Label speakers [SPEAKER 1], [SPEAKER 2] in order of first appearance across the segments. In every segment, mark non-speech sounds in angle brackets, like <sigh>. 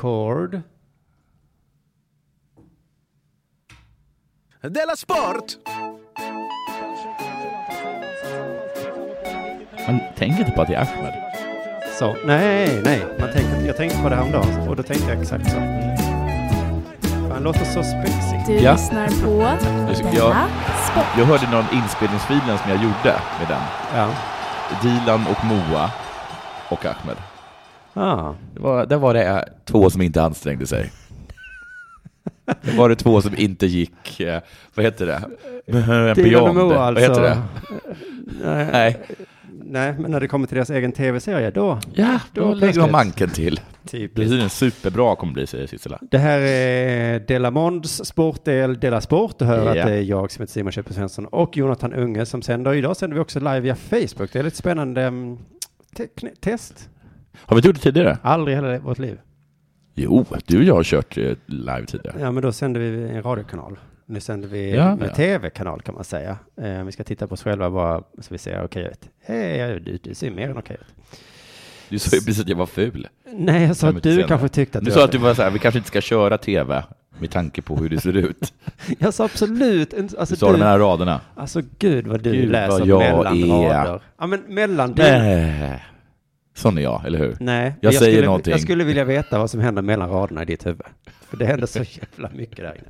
[SPEAKER 1] Record.
[SPEAKER 2] Della Sport!
[SPEAKER 3] Men tänk inte på att det är Ahmed.
[SPEAKER 1] Så. Nej, nej. Man tänkte, jag tänkte på det här om dagen och då tänkte jag exakt så. Han låter så spexig.
[SPEAKER 4] Du
[SPEAKER 3] Ja.
[SPEAKER 4] lyssnar på
[SPEAKER 3] ska-
[SPEAKER 4] Della
[SPEAKER 3] ja.
[SPEAKER 4] Sport.
[SPEAKER 3] Jag hörde någon inspelningsfilen som jag gjorde med den.
[SPEAKER 1] Ja.
[SPEAKER 3] Dilan och Moa och Ahmed.
[SPEAKER 1] Ah.
[SPEAKER 3] Det var, där var det eh, två som inte ansträngde sig. Det var det två som inte gick, eh, vad heter det?
[SPEAKER 1] Dylan och
[SPEAKER 3] Beyond.
[SPEAKER 1] Moa
[SPEAKER 3] Vad heter det?
[SPEAKER 1] alltså. <laughs> Nej,
[SPEAKER 3] Nej.
[SPEAKER 1] nej, men när det kommer till deras egen tv-serie då.
[SPEAKER 3] Ja,
[SPEAKER 1] då
[SPEAKER 3] då lägger man
[SPEAKER 1] plötsligt.
[SPEAKER 3] manken till. Det
[SPEAKER 1] Typiskt.
[SPEAKER 3] blir en superbra kommer bli, säger Sissela.
[SPEAKER 1] Det här är Della Monds sportdel Della Sport. Du hör
[SPEAKER 3] Ja.
[SPEAKER 1] att det är jag som heter Simon Köper Svensson och Jonathan Unge som sänder. Idag sänder vi också live via Facebook. Det är lite spännande mm, te- kn- test.
[SPEAKER 3] Har vi inte gjort det tidigare?
[SPEAKER 1] Aldrig i hela vårt liv.
[SPEAKER 3] Jo, du och jag har kört eh, live tidigare.
[SPEAKER 1] Ja, men då sände vi en radiokanal. Nu sänder vi
[SPEAKER 3] Ja,
[SPEAKER 1] en
[SPEAKER 3] ja.
[SPEAKER 1] tv-kanal kan man säga. Eh, vi ska titta på oss själva bara så vi ser okej ut. Hej, du, du ser mer än okej ut.
[SPEAKER 3] Du sa ju precis att jag var ful.
[SPEAKER 1] Nej, jag sa
[SPEAKER 3] Fem
[SPEAKER 1] att
[SPEAKER 3] minuter
[SPEAKER 1] du
[SPEAKER 3] senare.
[SPEAKER 1] kanske tyckte att
[SPEAKER 3] Du
[SPEAKER 1] du
[SPEAKER 3] sa
[SPEAKER 1] var
[SPEAKER 3] att du var så här, vi kanske inte ska köra tv med tanke på hur det ser ut.
[SPEAKER 1] Jag sa absolut inte. Alltså,
[SPEAKER 3] Du sa det
[SPEAKER 1] du,
[SPEAKER 3] mellan raderna.
[SPEAKER 1] alltså gud vad du
[SPEAKER 3] Gud,
[SPEAKER 1] läser
[SPEAKER 3] vad jag
[SPEAKER 1] mellan
[SPEAKER 3] är.
[SPEAKER 1] rader. Ja, men mellan du. Nej.
[SPEAKER 3] Nej. Eh. Sån är jag, eller hur?
[SPEAKER 1] men
[SPEAKER 3] säger
[SPEAKER 1] skulle,
[SPEAKER 3] någonting.
[SPEAKER 1] Jag skulle vilja veta vad som händer mellan raderna i ditt huvud. För det händer så <laughs> jävla mycket där inne.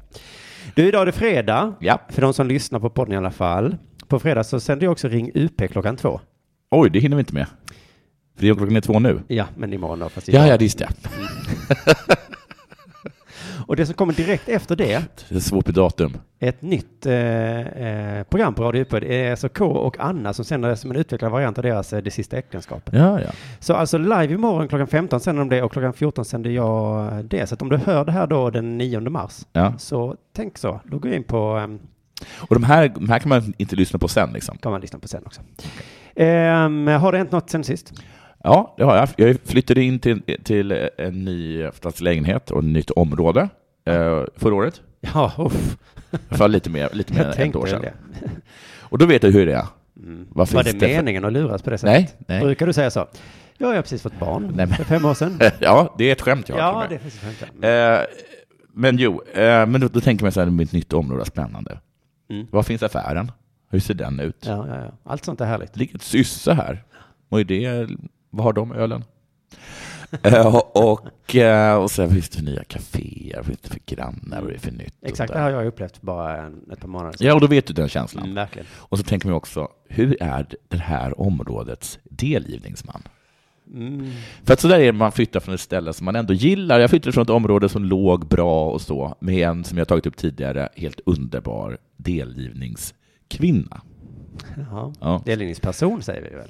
[SPEAKER 1] Du, idag är det fredag.
[SPEAKER 3] Ja.
[SPEAKER 1] För de som lyssnar på podden i alla fall. På fredag så sänder jag också Ring UP klockan två.
[SPEAKER 3] Oj, det hinner vi inte med. För det är klockan är två nu.
[SPEAKER 1] Ja, men imorgon då. Fast
[SPEAKER 3] Ja,
[SPEAKER 1] idag.
[SPEAKER 3] ja, visst ja.
[SPEAKER 1] Och det som kommer direkt efter det
[SPEAKER 3] Det är svårt med datum.
[SPEAKER 1] är ett nytt eh, eh, program på Radio Uppåt. Det är SOK och Anna som sänder det som en utvecklad variant av deras eh, Det sista äktenskapet.
[SPEAKER 3] Ja, ja.
[SPEAKER 1] Så alltså live imorgon klockan 15 sänder de det och klockan 14 sänder jag det. Så att om du hör det här då den 9 mars
[SPEAKER 3] ja.
[SPEAKER 1] så tänk så. Då går jag in på, ehm,
[SPEAKER 3] Och de här, de här kan man inte lyssna på sen liksom.
[SPEAKER 1] kan man lyssna på sen också. Ehm, har det hänt något sen sist?
[SPEAKER 3] Ja, det har jag. Jag flyttade in till, till en ny lägenhet och ett nytt område eh, förra året.
[SPEAKER 1] Ja, uff.
[SPEAKER 3] För lite mer, lite mer
[SPEAKER 1] Jag
[SPEAKER 3] än ett
[SPEAKER 1] tänkte
[SPEAKER 3] år
[SPEAKER 1] väl
[SPEAKER 3] sedan.
[SPEAKER 1] det. Mm.
[SPEAKER 3] Och då vet jag hur det är. Vad
[SPEAKER 1] Var
[SPEAKER 3] finns
[SPEAKER 1] det
[SPEAKER 3] det för-
[SPEAKER 1] meningen att luras på det sättet?
[SPEAKER 3] Nej, nej.
[SPEAKER 1] Brukar du säga så? Ja, jag har precis fått barn
[SPEAKER 3] Nej, men-
[SPEAKER 1] för fem år sedan.
[SPEAKER 3] <laughs> Ja, det är ett skämt jag har till
[SPEAKER 1] Ja,
[SPEAKER 3] mig.
[SPEAKER 1] det är faktiskt skönt. ja.
[SPEAKER 3] Eh, men jo, eh, men då, då tänker man så här, mitt nytt område är spännande.
[SPEAKER 1] Mm.
[SPEAKER 3] Var finns affären? Hur ser den ut?
[SPEAKER 1] Ja, ja, ja. Allt sånt är härligt.
[SPEAKER 3] Det ligger ett sysse här. Vad är det? Vad har
[SPEAKER 1] <laughs>
[SPEAKER 3] de ölen? eh, och, eh, och sen finns det nya kaféer, vad finns det för grannar, vad är det för nytt? och
[SPEAKER 1] Exakt,
[SPEAKER 3] där.
[SPEAKER 1] det har jag upplevt för bara en, ett par månader sedan.
[SPEAKER 3] Ja, och då vet du den känslan.
[SPEAKER 1] Mm, verkligen.
[SPEAKER 3] Och så tänker man också, hur är det här områdets delgivningsman?
[SPEAKER 1] Mm.
[SPEAKER 3] För att så där är det när man flyttar från ett ställe som man ändå gillar. Jag flyttade från ett område som låg bra och så, med en som jag tagit upp tidigare, helt underbar delgivningskvinna.
[SPEAKER 1] Jaha.
[SPEAKER 3] Ja,
[SPEAKER 1] Delgivningsperson säger vi väl?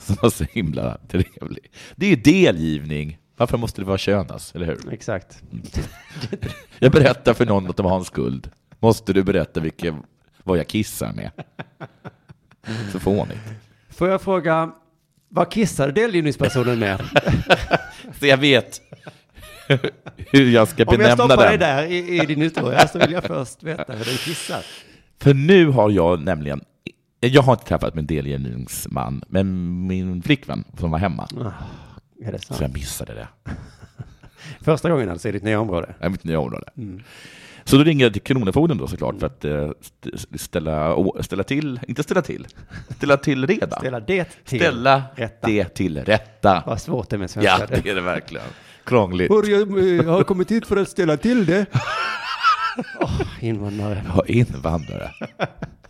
[SPEAKER 3] som var så himla trevlig. Det är delgivning. Varför måste det vara könas, eller hur?
[SPEAKER 1] Exakt.
[SPEAKER 3] Jag berättar för någon att de har en skuld. Måste du berätta vilken, vad jag kissar med? Så fånigt.
[SPEAKER 1] Får jag fråga, vad kissar delgivningspersonen
[SPEAKER 3] <laughs>
[SPEAKER 1] med?
[SPEAKER 3] Så jag vet hur jag ska
[SPEAKER 1] Om jag
[SPEAKER 3] benämna
[SPEAKER 1] stoppar dig
[SPEAKER 3] den.
[SPEAKER 1] där i, i din historia så vill jag först veta hur den kissar.
[SPEAKER 3] För nu har jag nämligen, jag har inte träffat min delgivningsman, men min flickvän som var hemma.
[SPEAKER 1] Är det
[SPEAKER 3] Så
[SPEAKER 1] sant?
[SPEAKER 3] jag
[SPEAKER 1] <laughs>
[SPEAKER 3] missade det.
[SPEAKER 1] Första gången alltså i ditt nya område?
[SPEAKER 3] Jag är mitt nya område.
[SPEAKER 1] Mm.
[SPEAKER 3] Så då ringde jag till Kronofogden då såklart för att eh, st- ställa, å- ställa till, inte ställa till, ställa till reda.
[SPEAKER 1] Ställa det till.
[SPEAKER 3] Ställa
[SPEAKER 1] rätta.
[SPEAKER 3] det till rätta.
[SPEAKER 1] Vad svårt det är med
[SPEAKER 3] Ja,
[SPEAKER 1] <laughs> svenska.
[SPEAKER 3] det är det verkligen. Krångligt.
[SPEAKER 1] Hör, jag eh, har kommit hit för att ställa till
[SPEAKER 3] <laughs>
[SPEAKER 1] det. Åh, invandrare.
[SPEAKER 3] Ja, invandrare.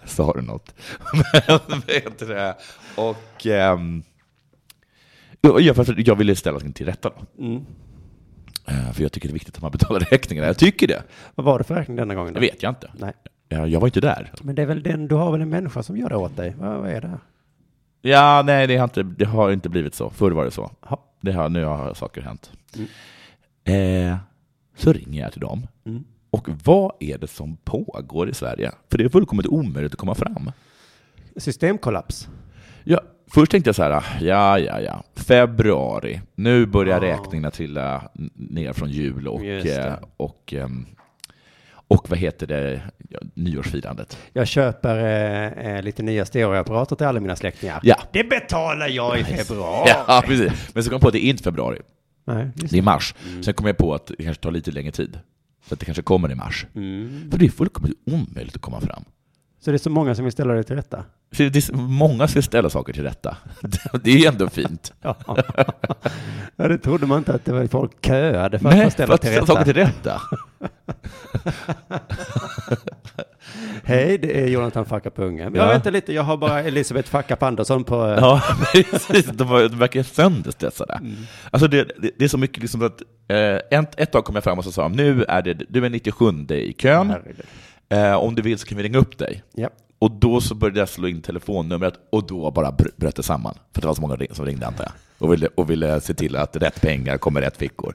[SPEAKER 3] Sa du något? Men vet du det? Och... ehm, jo, jag, för- jag ville ställa saken till rätta då. Eh, För jag tycker det är viktigt att man betalar räkningarna. Jag tycker det.
[SPEAKER 1] Vad var det för räkning denna gången?
[SPEAKER 3] Det
[SPEAKER 1] Då?
[SPEAKER 3] vet jag inte.
[SPEAKER 1] Nej.
[SPEAKER 3] Eh, Jag var inte där.
[SPEAKER 1] Men det är väl den, du har väl en människa som gör det åt dig? Vad, vad är det? här?
[SPEAKER 3] Ja, nej, det har, inte, det har inte blivit så. Förr var det så.
[SPEAKER 1] Ja.
[SPEAKER 3] Det har, nu har saker hänt. Eh, så ringer jag till dem. Och vad är det som pågår i Sverige? För det är fullkomligt omöjligt att komma fram.
[SPEAKER 1] Systemkollaps.
[SPEAKER 3] Ja, först tänkte jag så här, ja, ja, ja, februari, nu börjar räkningarna trilla n- ner från jul och,
[SPEAKER 1] Just det.
[SPEAKER 3] eh, och, ehm, och vad heter det, ja, nyårsfirandet.
[SPEAKER 1] Jag köper eh, eh, lite nya stereoapparater till alla mina släktingar.
[SPEAKER 3] Ja.
[SPEAKER 1] Det betalar jag i februari.
[SPEAKER 3] <laughs> Ja, precis. Men så kom jag på att det är inte februari.
[SPEAKER 1] Nej, just
[SPEAKER 3] Det är mars.
[SPEAKER 1] Mm.
[SPEAKER 3] Sen kom jag på att det kanske tar lite längre tid. Så att det kanske kommer i mars. För det är fullkomligt omöjligt att komma fram.
[SPEAKER 1] Så det är så många som vill ställa dig till rätta?
[SPEAKER 3] Så det är, så- många ska ställa saker till rätta. <laughs> Det är ju ändå fint.
[SPEAKER 1] Ja. <laughs> ja, det trodde man inte att det var folk köade för att få
[SPEAKER 3] Nej, för
[SPEAKER 1] ställa
[SPEAKER 3] att
[SPEAKER 1] till
[SPEAKER 3] ställa
[SPEAKER 1] rätta.
[SPEAKER 3] saker till rätta.
[SPEAKER 1] Hej, det är Jonathan Fackapungen. Ja.
[SPEAKER 3] Ja.
[SPEAKER 1] vänta lite, jag har bara Elisabeth Fackap Andersson på... eh,
[SPEAKER 3] Ja, <laughs> precis. De, var, de verkar sönderstressade. Alltså det, det, det är så mycket liksom att eh, ett, ett tag kom jag fram och så sa de, nu är det, du är 97 i kön.
[SPEAKER 1] Herregud.
[SPEAKER 3] Eh, om du vill så kan vi ringa upp dig.
[SPEAKER 1] Ja.
[SPEAKER 3] Och då så började jag slå in telefonnumret och då bara br- bröt det samman. För det var så många ring- som ringde antar jag. Och ville, och ville se till att rätt pengar kommer i rätt fickor.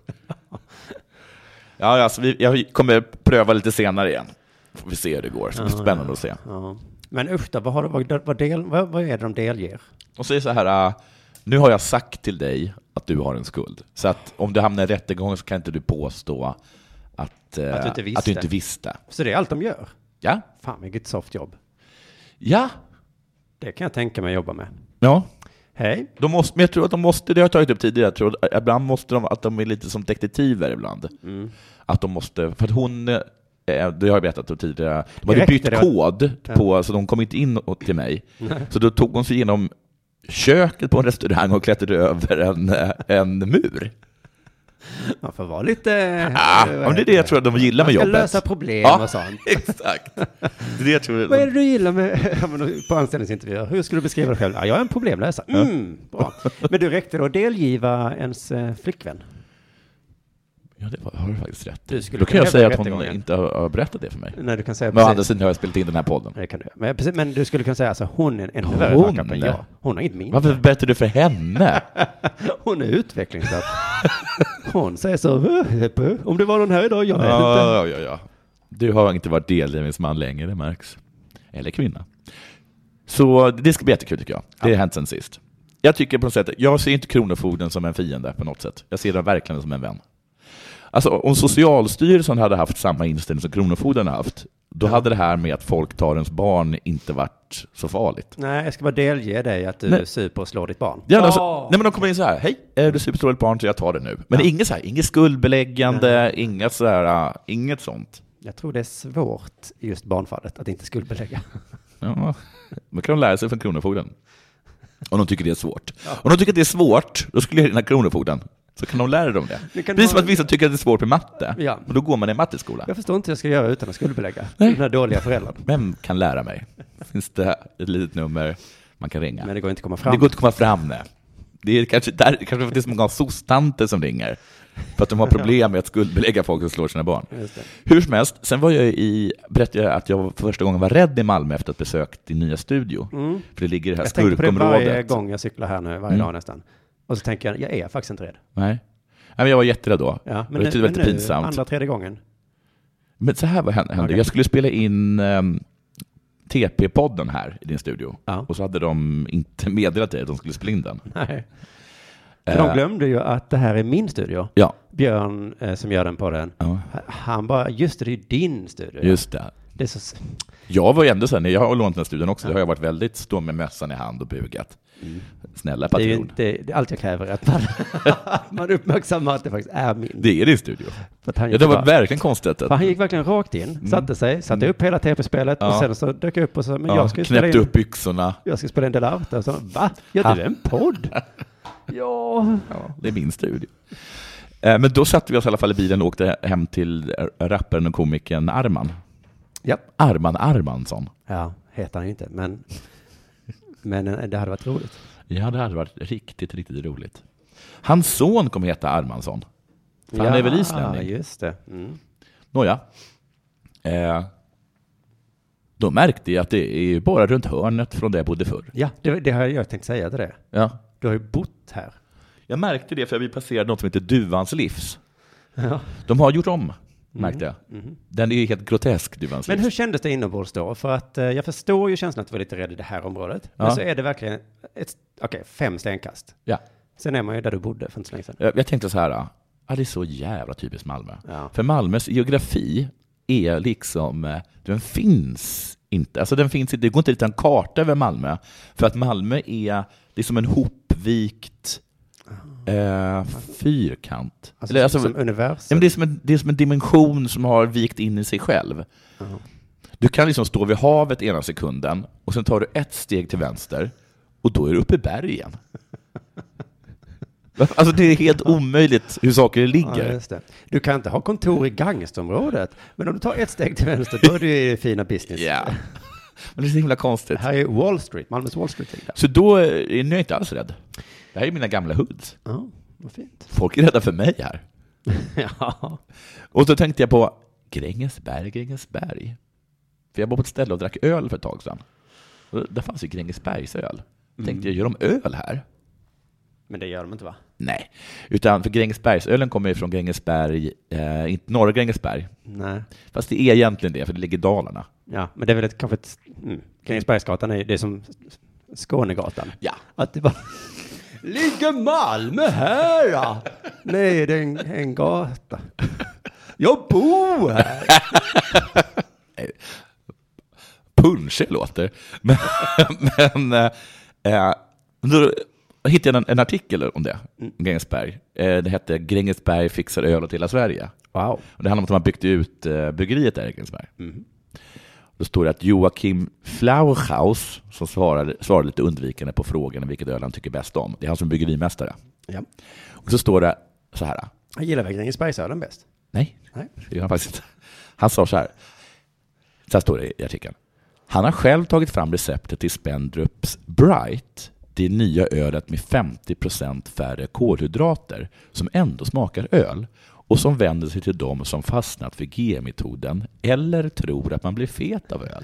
[SPEAKER 3] Ja, alltså, vi, jag kommer pröva lite senare igen. Får vi se hur det går. Så det blir spännande att se.
[SPEAKER 1] ja. Men usch då, vad, har, de- vad, vad, del, vad, vad är det de delger?
[SPEAKER 3] De säger så här, äh, nu har jag sagt till dig att du har en skuld. Så att om du hamnar i rättegången så kan inte du påstå att, eh,
[SPEAKER 1] Att du inte visste.
[SPEAKER 3] Att du inte visste.
[SPEAKER 1] Så det är allt de gör?
[SPEAKER 3] Ja,
[SPEAKER 1] Fan vilket soft jobb.
[SPEAKER 3] ja,
[SPEAKER 1] Det kan jag tänka mig att jobba med.
[SPEAKER 3] ja.
[SPEAKER 1] Hej.
[SPEAKER 3] De måste, men jag tror att de måste, det har jag tagit upp tidigare, jag tror att eh, ibland måste de, att de är lite som detektiver ibland.
[SPEAKER 1] Mm.
[SPEAKER 3] Att de måste, för att hon, eh, det har jag berättat om tidigare, de hade
[SPEAKER 1] Direkt är
[SPEAKER 3] bytt
[SPEAKER 1] det-
[SPEAKER 3] kod på, så de kom inte in åt- till mig. Så då tog hon sig igenom köket på en restaurang och klättrade över en, eh, en mur.
[SPEAKER 1] Man får vara lite...
[SPEAKER 3] <laughs> Ah, men det är det jag tror att de gillar
[SPEAKER 1] Man
[SPEAKER 3] med
[SPEAKER 1] ska
[SPEAKER 3] jobbet.
[SPEAKER 1] lösa problem och sånt.
[SPEAKER 3] <laughs> exakt. Det är det jag tror.
[SPEAKER 1] Vad är
[SPEAKER 3] De,
[SPEAKER 1] det du gillar med <laughs> ja, men på anställningsintervjuer? Hur skulle du beskriva dig själv? Ja, jag är en problemlösare. Mm, bra. Men du räckte då att delgiva ens eh, flickvän?
[SPEAKER 3] ja, det var- har du faktiskt rätt.
[SPEAKER 1] Du skulle
[SPEAKER 3] Då kan
[SPEAKER 1] kunna
[SPEAKER 3] jag säga
[SPEAKER 1] hävda
[SPEAKER 3] att hon
[SPEAKER 1] rättegången.
[SPEAKER 3] inte har, har berättat det för mig.
[SPEAKER 1] Nej, du kan säga
[SPEAKER 3] Men å
[SPEAKER 1] precis.
[SPEAKER 3] andra sidan har jag spelat in den här podden.
[SPEAKER 1] Nej, det kan du. Men, precis, men du skulle kunna säga alltså, hon är en ännu värre
[SPEAKER 3] Hon?
[SPEAKER 1] fuck-up än jag. Hon har inget minne.
[SPEAKER 3] Varför berättar du för henne?
[SPEAKER 1] Hon är utvecklingsstörd. <laughs> Hon säger så, "Äh, Eppe, om det var någon här idag, jag vet inte.
[SPEAKER 3] Ja, ja, ja. Du har inte varit delgivningsman längre, det märks. Eller kvinna. Så det ska bli jättekul tycker jag. Det har hänt sen sist. Jag tycker på något sätt, jag ser inte Kronofogden som en fiende på något sätt. Jag ser den verkligen som en vän. Alltså om Socialstyrelsen hade haft samma inställning som Kronofogden har haft, då hade det här med att folk tar ens barn inte varit så farligt.
[SPEAKER 1] Nej, jag ska bara delge dig att du
[SPEAKER 3] Nej.
[SPEAKER 1] super och slår ditt barn.
[SPEAKER 3] Ja, alltså, nej, men de kommer in så här, hej, är du superstorligt barn så jag tar det nu. Men inget, så här, inget skuldbeläggande, inga så här, äh, inget sånt.
[SPEAKER 1] Jag tror det är svårt i just barnfallet att inte skuldbelägga.
[SPEAKER 3] <laughs> Ja, då kan de lära sig från Kronofogden. Om de tycker det är svårt. Om de tycker att det är svårt, då skulle jag ringa Kronofogden. Så kan de lära dem det.
[SPEAKER 1] Det kan
[SPEAKER 3] Precis
[SPEAKER 1] vara-
[SPEAKER 3] som att vissa tycker att det är svårt med matte,
[SPEAKER 1] Ja.
[SPEAKER 3] och då går man i en matteskola.
[SPEAKER 1] Jag förstår inte hur jag ska göra utan att skuldbelägga
[SPEAKER 3] Nej.
[SPEAKER 1] den här dåliga föräldern.
[SPEAKER 3] Vem kan lära mig? Finns det ett litet nummer man kan ringa?
[SPEAKER 1] Men det går inte att komma
[SPEAKER 3] det
[SPEAKER 1] fram.
[SPEAKER 3] går inte att komma fram med. Det är kanske, där, kanske för att det är så många sostanter som ringer. För att de har problem med att skuldbelägga folk som slår sina barn.
[SPEAKER 1] Just det.
[SPEAKER 3] Hur som helst, sen var jag i, berättade jag att jag första gången var rädd i Malmö efter ett besök till nya studio. För det ligger i det
[SPEAKER 1] Mm.
[SPEAKER 3] här
[SPEAKER 1] Jag tänker på det
[SPEAKER 3] skurkområdet.
[SPEAKER 1] varje gång jag cyklar här nu,
[SPEAKER 3] Mm.
[SPEAKER 1] varje dag nästan. Och så tänker jag, jag är faktiskt inte rädd.
[SPEAKER 3] Nej. Nej, men jag var jätterädd då.
[SPEAKER 1] Ja,
[SPEAKER 3] och det tyckte det var lite pinsamt.
[SPEAKER 1] andra, tredje gången.
[SPEAKER 3] Men så här var hände. hände.
[SPEAKER 1] Okej.
[SPEAKER 3] Jag skulle spela in ehm, TP-podden här i din studio.
[SPEAKER 1] Ja.
[SPEAKER 3] Och så hade de inte meddelat dig att de skulle spela in den.
[SPEAKER 1] Nej. För de
[SPEAKER 3] Eh.
[SPEAKER 1] glömde ju att det här är min studio.
[SPEAKER 3] Ja,
[SPEAKER 1] Björn eh, som gör den på den.
[SPEAKER 3] Ja.
[SPEAKER 1] Han bara, just det, det är ju din studio.
[SPEAKER 3] just det.
[SPEAKER 1] Det är så... s-
[SPEAKER 3] Jag var ju ändå så här, när jag har lånat den här studion också, då har jag varit väldigt stå med mössan i hand och bugat. Snälla
[SPEAKER 1] Mm. Det är ju
[SPEAKER 3] patron.
[SPEAKER 1] inte, det är allt jag kräver är att man, <laughs> att man uppmärksammar att det faktiskt är min.
[SPEAKER 3] Det är din studio.
[SPEAKER 1] För att han,
[SPEAKER 3] Ja,
[SPEAKER 1] gick
[SPEAKER 3] det
[SPEAKER 1] bara-
[SPEAKER 3] var verkligen konstigt.
[SPEAKER 1] för
[SPEAKER 3] Att,
[SPEAKER 1] han gick verkligen rakt in, satte sig, satte upp hela TP-spelet och
[SPEAKER 3] Mm.
[SPEAKER 1] sen
[SPEAKER 3] Ja.
[SPEAKER 1] så dök jag upp och sa, men
[SPEAKER 3] ja,
[SPEAKER 1] jag ska ju spela
[SPEAKER 3] knäppte
[SPEAKER 1] in,
[SPEAKER 3] upp byxorna.
[SPEAKER 1] jag ska spela in Delarte. Och så, va? Gör du en podd? ja.
[SPEAKER 3] <laughs> Ja, det är min studio. Eh, Men då satte vi oss i alla fall i bilen och åkte hem till r- rapparen och komikern Arman.
[SPEAKER 1] Ja.
[SPEAKER 3] Arman Armansson.
[SPEAKER 1] Ja, heter han ju inte, men, men eh, det hade varit roligt.
[SPEAKER 3] Ja, det hade varit riktigt, riktigt roligt. Hans son kommer heta Armansson. För han är väl islänning?
[SPEAKER 1] just det. Mm.
[SPEAKER 3] Nåja. Eh, då märkte jag att det är bara runt hörnet från där jag bodde förr.
[SPEAKER 1] Ja, det, det har jag tänkt säga till det.
[SPEAKER 3] Ja.
[SPEAKER 1] Du har ju bott här.
[SPEAKER 3] Jag märkte det för vi passerade något som heter Duvans livs.
[SPEAKER 1] Ja.
[SPEAKER 3] De har gjort om, märkte jag. Den är ju helt grotesk, Duvans
[SPEAKER 1] Mm, Men
[SPEAKER 3] livs.
[SPEAKER 1] hur kändes det inombords då? För att eh, jag förstår ju känslan att du var lite rädd i det här området.
[SPEAKER 3] Ja.
[SPEAKER 1] Men så är det verkligen ett, okej, fem stenkast.
[SPEAKER 3] Ja.
[SPEAKER 1] Sen är man ju där du bodde för inte så länge sedan.
[SPEAKER 3] Eh, Jag tänkte så här, ah, det är så jävla typiskt Malmö.
[SPEAKER 1] Ja.
[SPEAKER 3] För Malmös geografi är liksom, eh, den finns inte. Alltså den finns inte, det går inte att rita en karta över Malmö. För att Malmö är, det är som en hopvikt Eh, fyrkant.
[SPEAKER 1] Ah. Alltså,
[SPEAKER 3] Eller, alltså,
[SPEAKER 1] som universum.
[SPEAKER 3] nej, men det, är som en, det är som en dimension som har vikt in i sig själv.
[SPEAKER 1] Jaha.
[SPEAKER 3] Du kan liksom stå vid havet ena sekunden och sen tar du ett steg till vänster och då är du uppe
[SPEAKER 1] <laughs>
[SPEAKER 3] i bergen. Alltså det är helt omöjligt hur saker
[SPEAKER 1] Ja,
[SPEAKER 3] ligger.
[SPEAKER 1] just det. Du kan inte ha kontor i gangstområdet, men om du tar ett steg till vänster, då är du i det fina business.
[SPEAKER 3] Ja. <laughs> Men det är så himla konstigt.
[SPEAKER 1] Här är Wall Street, Malmös Wall Street. ligger där.
[SPEAKER 3] Så då är nu inte alls rädd. Det här är mina gamla hoods.
[SPEAKER 1] Ja, vad
[SPEAKER 3] <laughs>
[SPEAKER 1] fint.
[SPEAKER 3] Folk är rädda för mig här.
[SPEAKER 1] Ja.
[SPEAKER 3] Och så tänkte jag på Grängesberg, Grängesberg. För jag var på ett ställe och drack öl för ett tag sedan. Och där fanns ju Grängesbergsöl. Tänkte jag, gör de öl här?
[SPEAKER 1] Men det gör de inte va?
[SPEAKER 3] Nej, utan för Grängesbergsölen kommer ju från Grängesberg, eh, inte norra Grängesberg.
[SPEAKER 1] Nej.
[SPEAKER 3] Fast det är egentligen det, för det ligger i Dalarna.
[SPEAKER 1] Ja, men det är väl ett, kanske ett... Mm. Grängesbergsgatan är ju- det är som Skånegatan.
[SPEAKER 3] Ja.
[SPEAKER 1] Att det bara... <laughs> Ligger Malmö här? Ja. Nej, det är en, en gata. Jag bor här.
[SPEAKER 3] punschig låter. <laughs> Men, men eh, eh, då hittade jag en, en artikel om det, om Grängesberg. Eh, det hette Grängesberg fixar öl åt hela Sverige.
[SPEAKER 1] Wow.
[SPEAKER 3] Och det handlar om att de har byggt ut eh, bryggeriet där i Grängesberg. Då står det att Joakim Flauchaus, som svarade, svarade lite undvikande på frågan om vilket öl han tycker bäst om, det är han som är bryggerimästare.
[SPEAKER 1] Ja.
[SPEAKER 3] Och så står det så här,
[SPEAKER 1] Jag gillar väl Grängesbergsölen bäst?
[SPEAKER 3] nej,
[SPEAKER 1] Nej.
[SPEAKER 3] det gör han faktiskt inte. Han sa så här, så här står det i artikeln. Han har själv tagit fram receptet till Spendrups Bright, det nya ölet med 50% färre kolhydrater som ändå smakar öl och som vänder sig till de som fastnat för G-metoden eller tror att man blir fet av öl.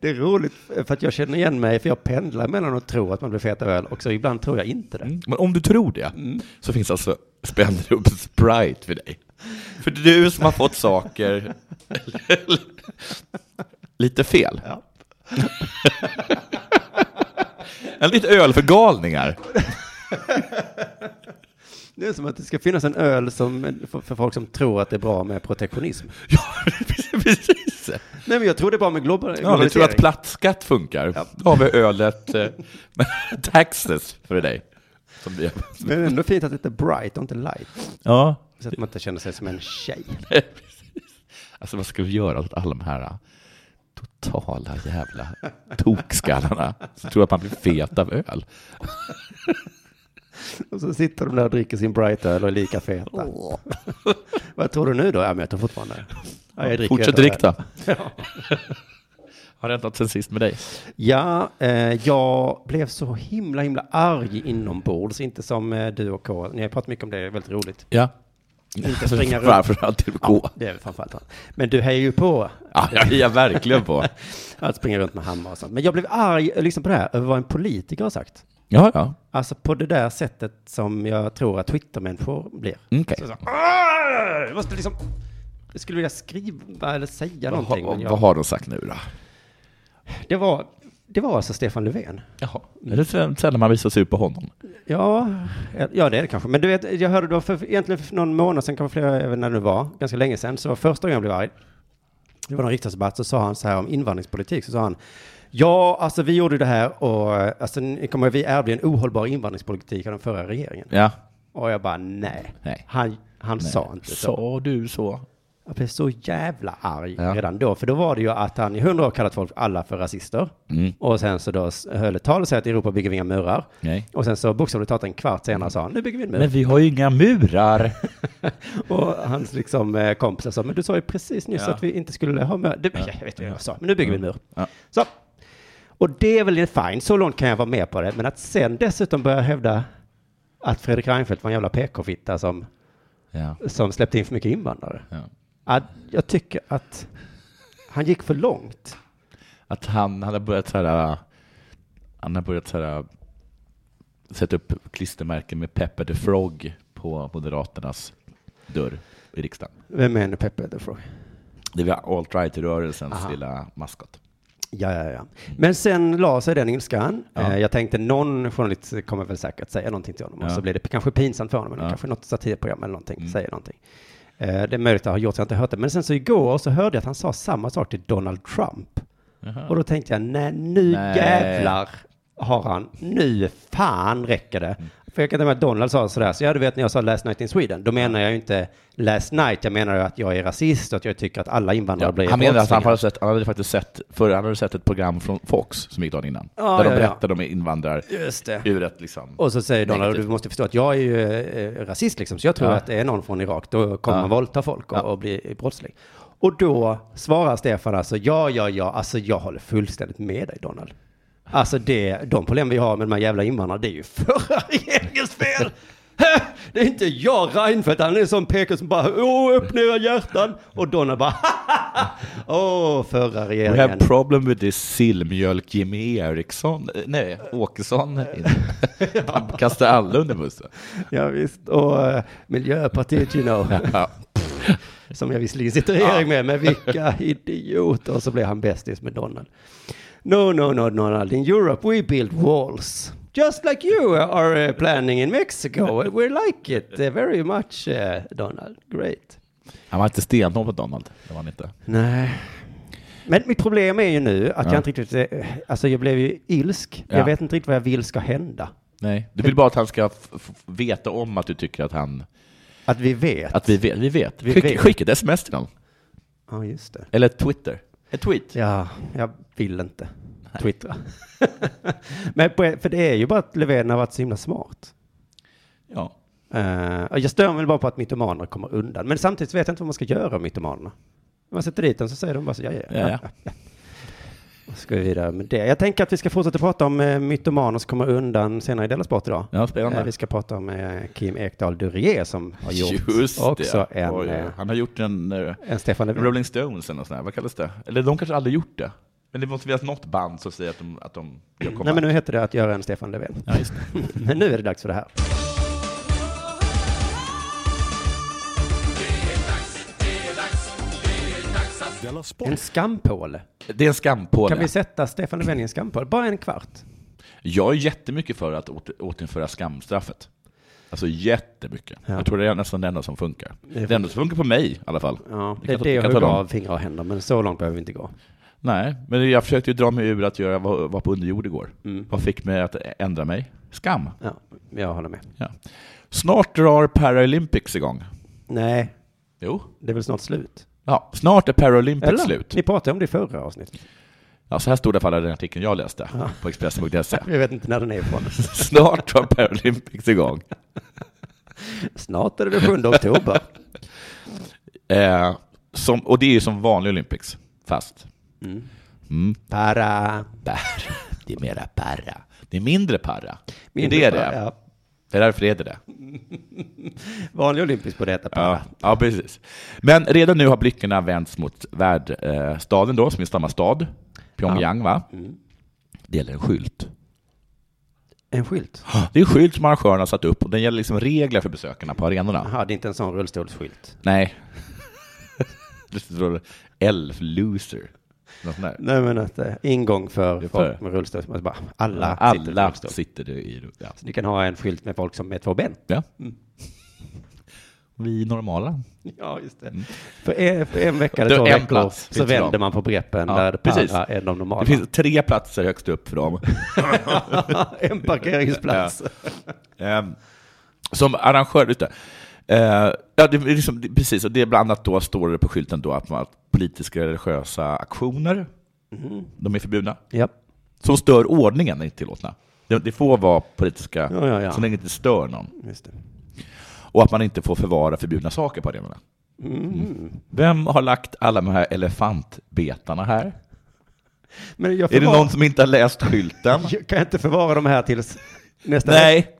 [SPEAKER 1] Det är roligt eh, för att jag känner igen mig, för jag pendlar mellan att tro att man blir fet av öl och så ibland tror jag inte det.
[SPEAKER 3] Men om du tror det så finns alltså Spendrups Sprite för dig. För det är du som har fått <laughs> saker lite fel. <laughs> En lite öl för galningar.
[SPEAKER 1] Det är som att det ska finnas en öl som, för, för folk som tror att det är bra med protektionism.
[SPEAKER 3] Ja, <laughs> precis.
[SPEAKER 1] Nej, men jag tror det är bra med global,
[SPEAKER 3] Ja, vi
[SPEAKER 1] globalisering.
[SPEAKER 3] tror att plattskatt funkar. Då har vi ölet eh, <laughs> Taxes för dig. Som det.
[SPEAKER 1] men det är ändå fint att det heter bright och inte light.
[SPEAKER 3] Ja,
[SPEAKER 1] Så att man inte känner sig som en tjej.
[SPEAKER 3] Alltså vad ska vi göra åt alla de här ah, totala jävla tokskallarna som tror att man blir fet av öl?
[SPEAKER 1] Och så sitter de där och dricker sin bright öl och är lika feta. Vad tror du nu då? Ja, men jag tror fortfarande. Ja, jag dricker
[SPEAKER 3] Fortsätt
[SPEAKER 1] öl.
[SPEAKER 3] drick då. <laughs> Har det hänt något sen sist med dig?
[SPEAKER 1] Ja, eh, jag blev så himla, himla arg inombords. Inte som eh, du och K. Ni har pratat mycket om det, det är väldigt roligt.
[SPEAKER 3] Ja.
[SPEAKER 1] Inte springa runt.
[SPEAKER 3] Varför alltid gå?
[SPEAKER 1] Det är väl framförallt han. Men du hejar ju på
[SPEAKER 3] Ja, jag är jag verkligen på.
[SPEAKER 1] att springa runt med hammare och sånt. Men jag blev arg eh, liksom på det här, över vad en politiker har sagt.
[SPEAKER 3] Ja, ja.
[SPEAKER 1] Alltså på det där sättet som jag tror att Twittermänniskor blir.
[SPEAKER 3] Okej.
[SPEAKER 1] Så, så, "Arr!" jag måste liksom... Jag skulle vilja skriva eller säga
[SPEAKER 3] Vad,
[SPEAKER 1] någonting.
[SPEAKER 3] har-
[SPEAKER 1] men jag,
[SPEAKER 3] vad har de sagt nu då?
[SPEAKER 1] Det, var, det var alltså Stefan Löfven.
[SPEAKER 3] Jaha. Är det sen- sällan man visar sig upp på honom?
[SPEAKER 1] Ja, eh, ja det är det kanske. Men du vet, jag hörde då för, egentligen för någon månad sedan, kanske flera, jag vet inte när det var, ganska länge sedan, så var första gången jag blev arg. Det var någon riksdagsdebatt, så sa han så här om invandringspolitik, så sa han Ja, alltså vi gjorde det här och eh, alltså, ni kommer, vi ärvde en ohållbar invandringspolitik av den förra regeringen.
[SPEAKER 3] Ja.
[SPEAKER 1] Och jag bara nej.
[SPEAKER 3] Nej.
[SPEAKER 1] Han, han sa inte så.
[SPEAKER 3] Sa du så?
[SPEAKER 1] Jag blev så jävla arg
[SPEAKER 3] Ja.
[SPEAKER 1] redan då, för då var det ju att han i hundra år kallat folk alla för rasister.
[SPEAKER 3] Mm.
[SPEAKER 1] Och sen så då s- höll ett tal och sa att i Europa bygger vi inga murar.
[SPEAKER 3] Nej.
[SPEAKER 1] Och sen så bokstavligt talat en kvart senare sa han, nu bygger vi en mur.
[SPEAKER 3] Men vi har ju inga murar.
[SPEAKER 1] Och hans liksom, eh, kompisar sa, men du sa ju precis nyss att vi inte skulle ha mur. Det, Jag vet inte vad jag sa, men nu bygger vi en mur.
[SPEAKER 3] Ja.
[SPEAKER 1] Så. Och det är väl fine, så långt kan jag vara med på det. Men att sen dessutom börja hävda att Fredrik Reinfeldt var en jävla PK-fitta som,
[SPEAKER 3] Ja.
[SPEAKER 1] som släppte in för mycket invandrare.
[SPEAKER 3] ja.
[SPEAKER 1] Att jag tycker att han gick för långt.
[SPEAKER 3] Att han hade börjat så här, äh, han hade börjat så här, äh, sätta upp klistermärken med Pepper the Frog på Moderaternas dörr i riksdagen.
[SPEAKER 1] Vem är nu Peppe the Frog?
[SPEAKER 3] Det var alt-right-rörelsens
[SPEAKER 1] Aha.
[SPEAKER 3] lilla maskot.
[SPEAKER 1] Ja, ja, ja. Men sen la sig den ilskan. Eh, Jag tänkte någon journalist kommer väl säkert säga någonting till honom och
[SPEAKER 3] Ja. Mm.
[SPEAKER 1] så blir det p- kanske pinsamt för honom. Eller Kanske något satirprogram eller någonting säger någonting. Eh, Det är möjligt att ha gjort så jag har inte hört det. Men sen så igår så hörde jag att han sa samma sak till Donald Trump. Och då tänkte jag, nej nu
[SPEAKER 3] Nej.
[SPEAKER 1] jävlar har han, nu fan räcker det.
[SPEAKER 3] Mm.
[SPEAKER 1] För jag kan tänka mig att Donald sa sådär, så jag du vet när jag sa Last Night in Sweden, då menar jag ju inte Last Night, jag menar ju att jag är rasist och att jag tycker att alla invandrare blir
[SPEAKER 3] han menade att han
[SPEAKER 1] brottslingar.
[SPEAKER 3] hade, sett, han hade faktiskt sett, för han hade sett ett program från Fox som gick dagen innan.
[SPEAKER 1] Ja,
[SPEAKER 3] där
[SPEAKER 1] ja,
[SPEAKER 3] de
[SPEAKER 1] ja.
[SPEAKER 3] berättade om invandrar
[SPEAKER 1] Just det.
[SPEAKER 3] ur ett liksom...
[SPEAKER 1] Och så säger Donald,
[SPEAKER 3] Negativt.
[SPEAKER 1] du måste förstå att jag är ju eh, rasist liksom, så jag tror
[SPEAKER 3] Ja.
[SPEAKER 1] att det är någon från Irak, då kommer
[SPEAKER 3] Ja.
[SPEAKER 1] man våldta folk och,
[SPEAKER 3] Ja.
[SPEAKER 1] och bli brottsling. Och då svarar Stefan alltså, ja, ja, ja, alltså jag håller fullständigt med dig Donald. Alltså det, de problem vi har med de här jävla invandrarna, det är ju <laughs> förra regeringens fel! Det är inte jag Reinfeldt, han är en sån PK som bara, åh, öppna era hjärtan! Och Donald bara, <laughs> åh, förra
[SPEAKER 3] We have
[SPEAKER 1] regeringen.
[SPEAKER 3] problem with this sillmjölk Jimmy Eriksson, eh, nej,
[SPEAKER 1] <laughs>
[SPEAKER 3] Åkesson. Han kastar alla under bussen.
[SPEAKER 1] Ja, visst. och eh, Miljöpartiet, you know.
[SPEAKER 3] Ja.
[SPEAKER 1] som jag visserligen sitter i regering med, men
[SPEAKER 3] <laughs>
[SPEAKER 1] vilka idioter. Och så blev han bästis med Donald. No, no, no, Donald. In Europe we build walls. Just like you are uh, planning in
[SPEAKER 3] <laughs>
[SPEAKER 1] Mexico. We like it uh, very much, uh, Donald. Great.
[SPEAKER 3] Han var inte stenhård mot Donald, det var han inte.
[SPEAKER 1] Nej. Men mitt problem är ju nu att jag inte riktigt, eh, alltså jag blev ju ilsk.
[SPEAKER 3] Ja.
[SPEAKER 1] Jag vet inte riktigt vad jag vill ska hända.
[SPEAKER 3] Nej. Du vill bara att han ska f- f- veta om att du tycker att han,
[SPEAKER 1] Att vi vet.
[SPEAKER 3] att vi vet. Vi vet.
[SPEAKER 1] Vi
[SPEAKER 3] Skicka-
[SPEAKER 1] vet.
[SPEAKER 3] Skicka ett sms till honom.
[SPEAKER 1] Ja, just det.
[SPEAKER 3] Eller ett Twitter. Ett tweet.
[SPEAKER 1] Ja, jag vill inte twittra. <laughs> Men på, för det är ju bara att Löfven har varit så himla smart.
[SPEAKER 3] Ja.
[SPEAKER 1] Eh, och jag stör mig väl bara på att mytomaner kommer undan. Men samtidigt så vet jag inte vad man ska göra av mytomanerna. Om man sätter dit dem så säger de bara så, ja, ja,
[SPEAKER 3] Ja,
[SPEAKER 1] ja.
[SPEAKER 3] ja.
[SPEAKER 1] <laughs> Och så Ska vi vidare med det. Jag tänker att vi ska fortsätta prata om eh, mytomaner som kommer undan senare i Della Sport idag.
[SPEAKER 3] Ja, spännande.
[SPEAKER 1] Eh, vi ska prata om eh, Kim Ekdahl Duryé som har gjort
[SPEAKER 3] Just det.
[SPEAKER 1] också en,
[SPEAKER 3] Oj,
[SPEAKER 1] eh,
[SPEAKER 3] Han har gjort en, eh,
[SPEAKER 1] en Stefan Löfven.
[SPEAKER 3] Rolling Stones eller något sånt här. vad kallas det? Eller de kanske aldrig gjort det. Men det måste finnas något band som säger att de, att de jag kommer.
[SPEAKER 1] Nej, men nu heter det att göra en Stefan Löfven.
[SPEAKER 3] Ja, just det.
[SPEAKER 1] <laughs> men nu är det dags för det här. En skampåle.
[SPEAKER 3] det är en skampåle.
[SPEAKER 1] Kan vi sätta Stefan Löfven i en skampål? Bara en kvart.
[SPEAKER 3] Jag är jättemycket för att åter, återinföra skamstraffet. Alltså jättemycket.
[SPEAKER 1] Ja.
[SPEAKER 3] Jag tror det är nästan det enda som funkar.
[SPEAKER 1] är-
[SPEAKER 3] Det enda som funkar på mig i alla fall.
[SPEAKER 1] Ja,
[SPEAKER 3] Det
[SPEAKER 1] det är
[SPEAKER 3] kan
[SPEAKER 1] det
[SPEAKER 3] ta-
[SPEAKER 1] jag
[SPEAKER 3] kan ta
[SPEAKER 1] hugger
[SPEAKER 3] dem.
[SPEAKER 1] av fingrar och händer, men så långt behöver vi inte gå.
[SPEAKER 3] Nej, men jag försökte ju dra mig ur att göra vad var på underjord igår.
[SPEAKER 1] Mm.
[SPEAKER 3] Vad fick mig att ändra mig? Skam.
[SPEAKER 1] Ja, jag håller med.
[SPEAKER 3] Ja. Snart drar Paralympics igång.
[SPEAKER 1] Nej,
[SPEAKER 3] Jo.
[SPEAKER 1] det är väl snart slut?
[SPEAKER 3] Ja, snart är Paralympics
[SPEAKER 1] Eller?
[SPEAKER 3] slut.
[SPEAKER 1] Ni pratade om det i förra avsnittet.
[SPEAKER 3] Ja, så här stod det i alla fall i den artikeln jag läste
[SPEAKER 1] <laughs>
[SPEAKER 3] på Expressen.se.
[SPEAKER 1] Jag vet inte när den är ifrån.
[SPEAKER 3] Snart drar Paralympics igång.
[SPEAKER 1] Snart är det den 7 oktober.
[SPEAKER 3] Eh, som, och det är ju som vanlig Olympics, fast
[SPEAKER 1] <laughs> Para.
[SPEAKER 3] para. Det är mera para. Det är mindre para.
[SPEAKER 1] Mindre
[SPEAKER 3] det är
[SPEAKER 1] para,
[SPEAKER 3] det.
[SPEAKER 1] ja.
[SPEAKER 3] Det är därför det heter det.
[SPEAKER 1] Vanlig olympisk borde heta para.
[SPEAKER 3] Ja, ja, precis. Men redan nu har blickarna vänts mot värdstaden då, som är samma stad, Pyongyang va?
[SPEAKER 1] Mm.
[SPEAKER 3] Det gäller en skylt.
[SPEAKER 1] En skylt.
[SPEAKER 3] Det är en skylt som arrangörerna har satt upp och den gäller liksom regler för besökarna på arenorna.
[SPEAKER 1] Jaha, det är inte en sån rullstolsskylt.
[SPEAKER 3] Nej. <laughs> Det står Elf loser. Något sånt där.
[SPEAKER 1] Nej, men att eh, ingång för
[SPEAKER 3] är
[SPEAKER 1] folk
[SPEAKER 3] för-
[SPEAKER 1] med rullstol. Man bara, alla, sitter i
[SPEAKER 3] Alla
[SPEAKER 1] rullstol.
[SPEAKER 3] sitter det i... Ja.
[SPEAKER 1] Så Ni kan ha en skylt med folk som är två ben. <laughs>
[SPEAKER 3] ja. Vi normala.
[SPEAKER 1] Ja, just det. För en, för en vecka eller
[SPEAKER 3] Det är
[SPEAKER 1] två
[SPEAKER 3] Mm. en
[SPEAKER 1] veckor
[SPEAKER 3] plats,
[SPEAKER 1] så
[SPEAKER 3] finns det
[SPEAKER 1] vänder
[SPEAKER 3] dem.
[SPEAKER 1] man på breppen
[SPEAKER 3] Ja,
[SPEAKER 1] där det
[SPEAKER 3] precis.
[SPEAKER 1] para är de normala.
[SPEAKER 3] Det finns tre platser högst upp för dem.
[SPEAKER 1] <laughs>
[SPEAKER 3] <laughs>
[SPEAKER 1] en parkeringsplats.
[SPEAKER 3] Ehm, som arrangör, just det. Eh, ja, det är liksom, det, precis, och det är bland annat då står det på skylten då att, man, att politiska och religiösa aktioner,
[SPEAKER 1] Mm.
[SPEAKER 3] de är förbjudna,
[SPEAKER 1] Ja.
[SPEAKER 3] som stör ordningen är inte tillåtna. Det, det får vara politiska,
[SPEAKER 1] Ja, ja, ja.
[SPEAKER 3] så länge det inte stör någon.
[SPEAKER 1] Just det.
[SPEAKER 3] Och att man inte får förvara förbjudna saker på arenorna. Mm. Vem har lagt alla de här elefantbetarna här?
[SPEAKER 1] Men jag
[SPEAKER 3] Är det
[SPEAKER 1] förvar-
[SPEAKER 3] någon som inte har läst skylten?
[SPEAKER 1] jag kan inte förvara de här tills nästa vecka.
[SPEAKER 3] Nej,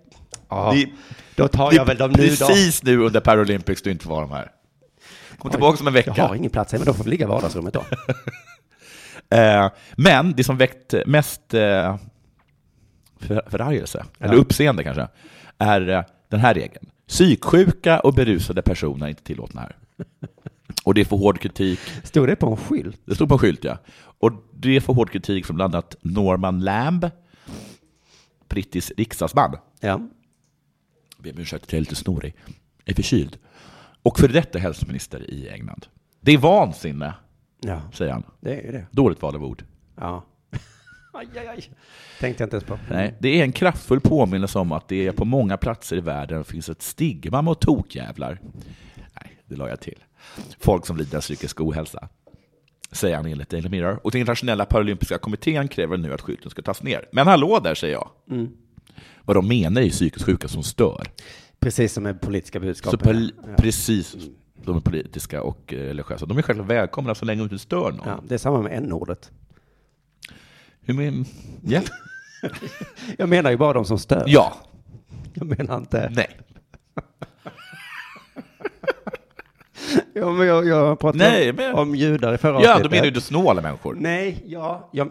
[SPEAKER 1] Ja,
[SPEAKER 3] det-
[SPEAKER 1] då tar
[SPEAKER 3] det
[SPEAKER 1] jag
[SPEAKER 3] är
[SPEAKER 1] väl dem nu då.
[SPEAKER 3] precis nu under Paralympics du inte får vara de här. Kom tillbaka om en
[SPEAKER 1] Jag
[SPEAKER 3] vecka.
[SPEAKER 1] har ingen plats här, men då får vi ligga i vardagsrummet
[SPEAKER 3] <laughs>
[SPEAKER 1] då.
[SPEAKER 3] Eh, men det som väckt mest eh, för, förargelse, eller uppseende kanske, är eh, den här regeln. Psyksjuka och berusade personer är inte tillåtna här. Och det får hård kritik.
[SPEAKER 1] Stod det på en skylt?
[SPEAKER 3] Det stod på en skylt, ja. Och det får hård kritik från bland annat Norman Lamb, brittisk riksdagsman.
[SPEAKER 1] Ja.
[SPEAKER 3] Jag ber om ursäkt att jag är lite snorig. Jag är förkyld. Och för detta hälsominister i England. Det är vansinne,
[SPEAKER 1] Ja,
[SPEAKER 3] säger han.
[SPEAKER 1] det är ju det.
[SPEAKER 3] Dåligt val av ord.
[SPEAKER 1] Ja. <laughs> Aj, aj, aj. Tänkte jag inte ens på.
[SPEAKER 3] Nej, det är en kraftfull påminnelse om att det är på många platser i världen finns ett stigma mot tokjävlar. Nej, det la jag till. Folk som lider av psykisk ohälsa. Säger han enligt Daily Mirror. Och den internationella paralympiska kommittén kräver nu att skylten ska tas ner. Men hallå där, säger jag.
[SPEAKER 1] Mm.
[SPEAKER 3] Vad de menar är ju psykiskt sjuka som stör.
[SPEAKER 1] Precis som med politiska
[SPEAKER 3] Så
[SPEAKER 1] budskapen.
[SPEAKER 3] pol-
[SPEAKER 1] ja. Mm.
[SPEAKER 3] precis, de är politiska och eh, religiösa. De är själva välkomna så länge de inte stör någon.
[SPEAKER 1] Ja, det är samma med n-ordet.
[SPEAKER 3] Hur men, ja.
[SPEAKER 1] Jag menar ju bara de som stör.
[SPEAKER 3] ja,
[SPEAKER 1] Jag menar inte...
[SPEAKER 3] nej.
[SPEAKER 1] Ja, men jag, jag pratade
[SPEAKER 3] Nej,
[SPEAKER 1] om,
[SPEAKER 3] men-
[SPEAKER 1] om judar i förra
[SPEAKER 3] Ja,
[SPEAKER 1] avsnittet.
[SPEAKER 3] de menar ju snåla människor.
[SPEAKER 1] Nej, ja, jag,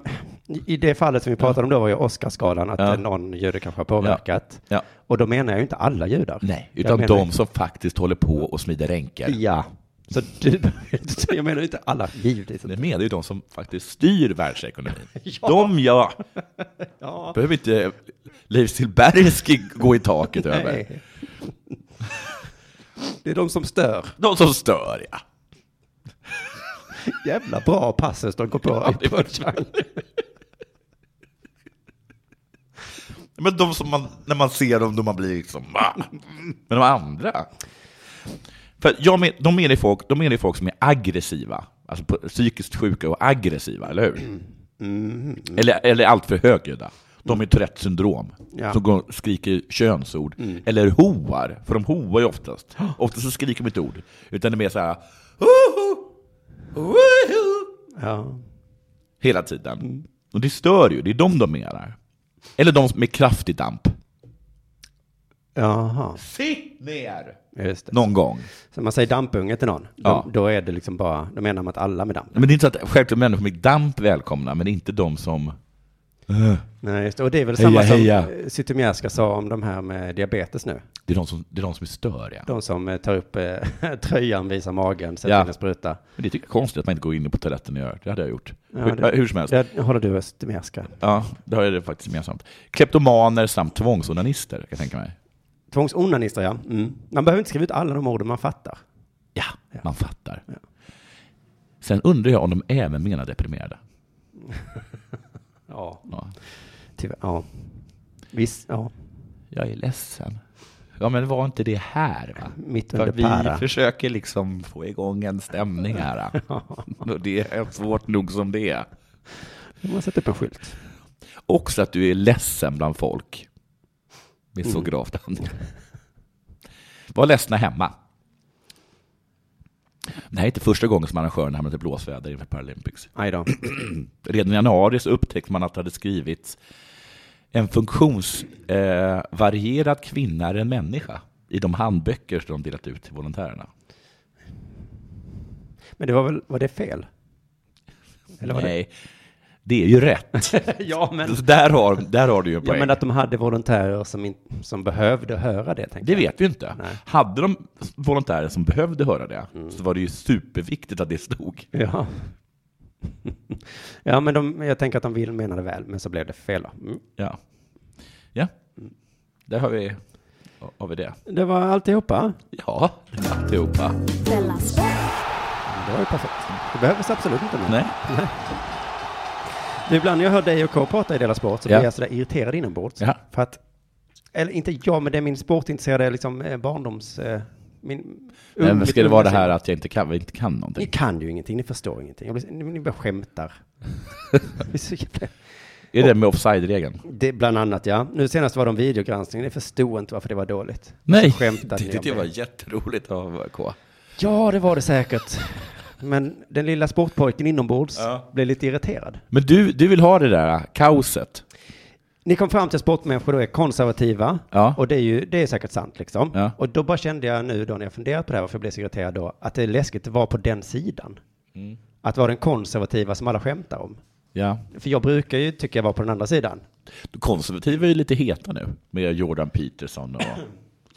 [SPEAKER 1] i det fallet som vi pratade om då var ju Oscarsgalan, att eh,
[SPEAKER 3] Ja.
[SPEAKER 1] någon jude kanske har påverkat.
[SPEAKER 3] Ja.
[SPEAKER 1] Och då menar jag ju inte alla judar.
[SPEAKER 3] Nej,
[SPEAKER 1] Jag
[SPEAKER 3] utan
[SPEAKER 1] menar
[SPEAKER 3] de som faktiskt håller på och smider
[SPEAKER 1] ju-
[SPEAKER 3] ränker.
[SPEAKER 1] Ja. Så du <laughs> behöver inte säga- jag menar ju inte alla, givetvis.
[SPEAKER 3] Det menar ju de som faktiskt styr världsekonomin.
[SPEAKER 1] <laughs> Ja.
[SPEAKER 3] De, ja.
[SPEAKER 1] <laughs> Ja.
[SPEAKER 3] Behöver inte Leif Silbersky gå i taket över. <laughs>
[SPEAKER 1] Nej. Det är de som stör.
[SPEAKER 3] De som stör, ja.
[SPEAKER 1] Jävla bra passus de går på. i
[SPEAKER 3] det var-
[SPEAKER 1] punchline.
[SPEAKER 3] Men de som man, när man ser dem, då man blir liksom va? Men de andra? För jag men, de menar ju folk, de menar ju folk som är aggressiva. Alltså på- psykiskt sjuka och aggressiva, eller hur? Eller, eller allt för högljudda. De är Tourettes syndrom.
[SPEAKER 1] Ja.
[SPEAKER 3] Som går, och skriker könsord. Eller hoar. För de hoar ju oftast. Oftast så skriker de inte ord. Utan det är mer så här... "Hoho! Woho!"
[SPEAKER 1] Ja.
[SPEAKER 3] Hela tiden. Och det stör ju. Det är de de menar. Eller de med kraftig damp.
[SPEAKER 1] Jaha,
[SPEAKER 3] Sitt ner!
[SPEAKER 1] just det.
[SPEAKER 3] Någon gång.
[SPEAKER 1] Så man säger dampunge till någon,
[SPEAKER 3] Ja.
[SPEAKER 1] då, då är det liksom bara, då menar man att alla med damp.
[SPEAKER 3] Men det är inte så att självklart människor med damp välkomna, men det är inte de som...
[SPEAKER 1] Nej, just det. Och det är väl
[SPEAKER 3] Heja,
[SPEAKER 1] samma som
[SPEAKER 3] heja.
[SPEAKER 1] eh, Zytomierska sa om de här med diabetes nu.
[SPEAKER 3] Det är de som, det är, de som är störiga.
[SPEAKER 1] De som eh, tar upp eh, <laughs> tröjan, visar magen, sätter
[SPEAKER 3] Ja.
[SPEAKER 1] in en spruta.
[SPEAKER 3] Men det tycker jag är typ konstigt att man inte går in på toaletten och gör. Det hade jag gjort.
[SPEAKER 1] Ja,
[SPEAKER 3] hur,
[SPEAKER 1] det-
[SPEAKER 3] hur som helst.
[SPEAKER 1] Det håller du och Zytomierska.
[SPEAKER 3] Ja, det har jag det faktiskt gemensamt. Kleptomaner samt tvångsonanister, kan jag tänka mig.
[SPEAKER 1] Tvångsonanister, ja. Mm. Man behöver inte skriva ut alla de orden man fattar.
[SPEAKER 3] Ja, man fattar. Sen undrar jag om de även menar deprimerade.
[SPEAKER 1] Ja.
[SPEAKER 3] Ja,
[SPEAKER 1] Tyvärr, ja. Visst, ja.
[SPEAKER 3] jag är ledsen. Ja, men var inte det här, va?
[SPEAKER 1] Mitt
[SPEAKER 3] För
[SPEAKER 1] under para.
[SPEAKER 3] vi försöker liksom få igång en stämning
[SPEAKER 1] <laughs>
[SPEAKER 3] här. ja. Och det är svårt nog som det är.
[SPEAKER 1] Man sätter upp en skylt.
[SPEAKER 3] Också att du är ledsen bland folk. Det är så
[SPEAKER 1] Mm.
[SPEAKER 3] gravt. Var ledsna hemma. Det här är inte första gången som arrangören hamnat i blåsväder inför Paralympics.
[SPEAKER 1] Aj
[SPEAKER 3] <clears throat>
[SPEAKER 1] då.
[SPEAKER 3] Redan i januari så upptäckte man att det hade skrivits en funktionsvarierad eh, varierad kvinna är en människa i de handböcker som de delat ut till volontärerna.
[SPEAKER 1] Men det var väl, var det fel? Eller var det-
[SPEAKER 3] Nej, det är ju rätt.
[SPEAKER 1] ja, <laughs> men.
[SPEAKER 3] Så där, har, där har du ju en
[SPEAKER 1] Ja,
[SPEAKER 3] poäng.
[SPEAKER 1] men att de hade volontärer som, in, som behövde höra det, tänker
[SPEAKER 3] Det
[SPEAKER 1] jag.
[SPEAKER 3] vet vi inte.
[SPEAKER 1] Nej.
[SPEAKER 3] Hade de volontärer som behövde höra det så var det ju superviktigt att det stod.
[SPEAKER 1] Ja. <laughs> ja, men de, jag tänker att de vill menade väl, men så blev det fel. Då. Mm.
[SPEAKER 3] Ja, ja. där har vi, har vi det.
[SPEAKER 1] Det var alltihopa.
[SPEAKER 3] Ja, det var alltihopa.
[SPEAKER 2] Della Sport!
[SPEAKER 1] Det var ju perfekt. Det behövdes absolut inte mer.
[SPEAKER 3] Nej.
[SPEAKER 1] Det är ibland när jag hör dig och K prata i Dela Sport så
[SPEAKER 3] Ja.
[SPEAKER 1] blir jag sådär irriterad inombords.
[SPEAKER 3] Ja.
[SPEAKER 1] För att, eller inte jag, men det är min sportintresserade liksom, eh, barndoms... eh, Min,
[SPEAKER 3] Nej, men
[SPEAKER 1] mitt
[SPEAKER 3] ska det vara det
[SPEAKER 1] unga
[SPEAKER 3] här
[SPEAKER 1] sida.
[SPEAKER 3] att jag inte kan, vi inte kan
[SPEAKER 1] Ni
[SPEAKER 3] någonting?
[SPEAKER 1] kan ju ingenting, ni förstår ingenting. Jag blir, ni, ni bara
[SPEAKER 3] <laughs>
[SPEAKER 1] skämtar. det, är så jävla,
[SPEAKER 3] Är det med offside-regeln?
[SPEAKER 1] det bland annat ja. Nu senast var det om videogranskning, ni förstod inte varför det var dåligt.
[SPEAKER 3] Nej,
[SPEAKER 1] skämtade ni
[SPEAKER 3] det,
[SPEAKER 1] om
[SPEAKER 3] det
[SPEAKER 1] det?
[SPEAKER 3] var jätteroligt av K.
[SPEAKER 1] Ja, det var det säkert. Men den lilla sportpojken inombords
[SPEAKER 3] Ja.
[SPEAKER 1] blev lite irriterad.
[SPEAKER 3] Men du, du vill ha det där äh, kaoset?
[SPEAKER 1] Ni kom fram till att sportmänniskor då är konservativa.
[SPEAKER 3] Ja.
[SPEAKER 1] Och det är ju, det är säkert sant liksom.
[SPEAKER 3] Ja.
[SPEAKER 1] Och då bara kände jag nu då när jag funderat på det här, varför jag blev så irriterad då, att det är läskigt att vara på den sidan.
[SPEAKER 3] Mm.
[SPEAKER 1] Att vara den konservativa som alla skämtar om.
[SPEAKER 3] Ja.
[SPEAKER 1] För jag brukar ju tycka jag var på den andra sidan.
[SPEAKER 3] Konservativa är ju lite heta nu med Jordan Peterson och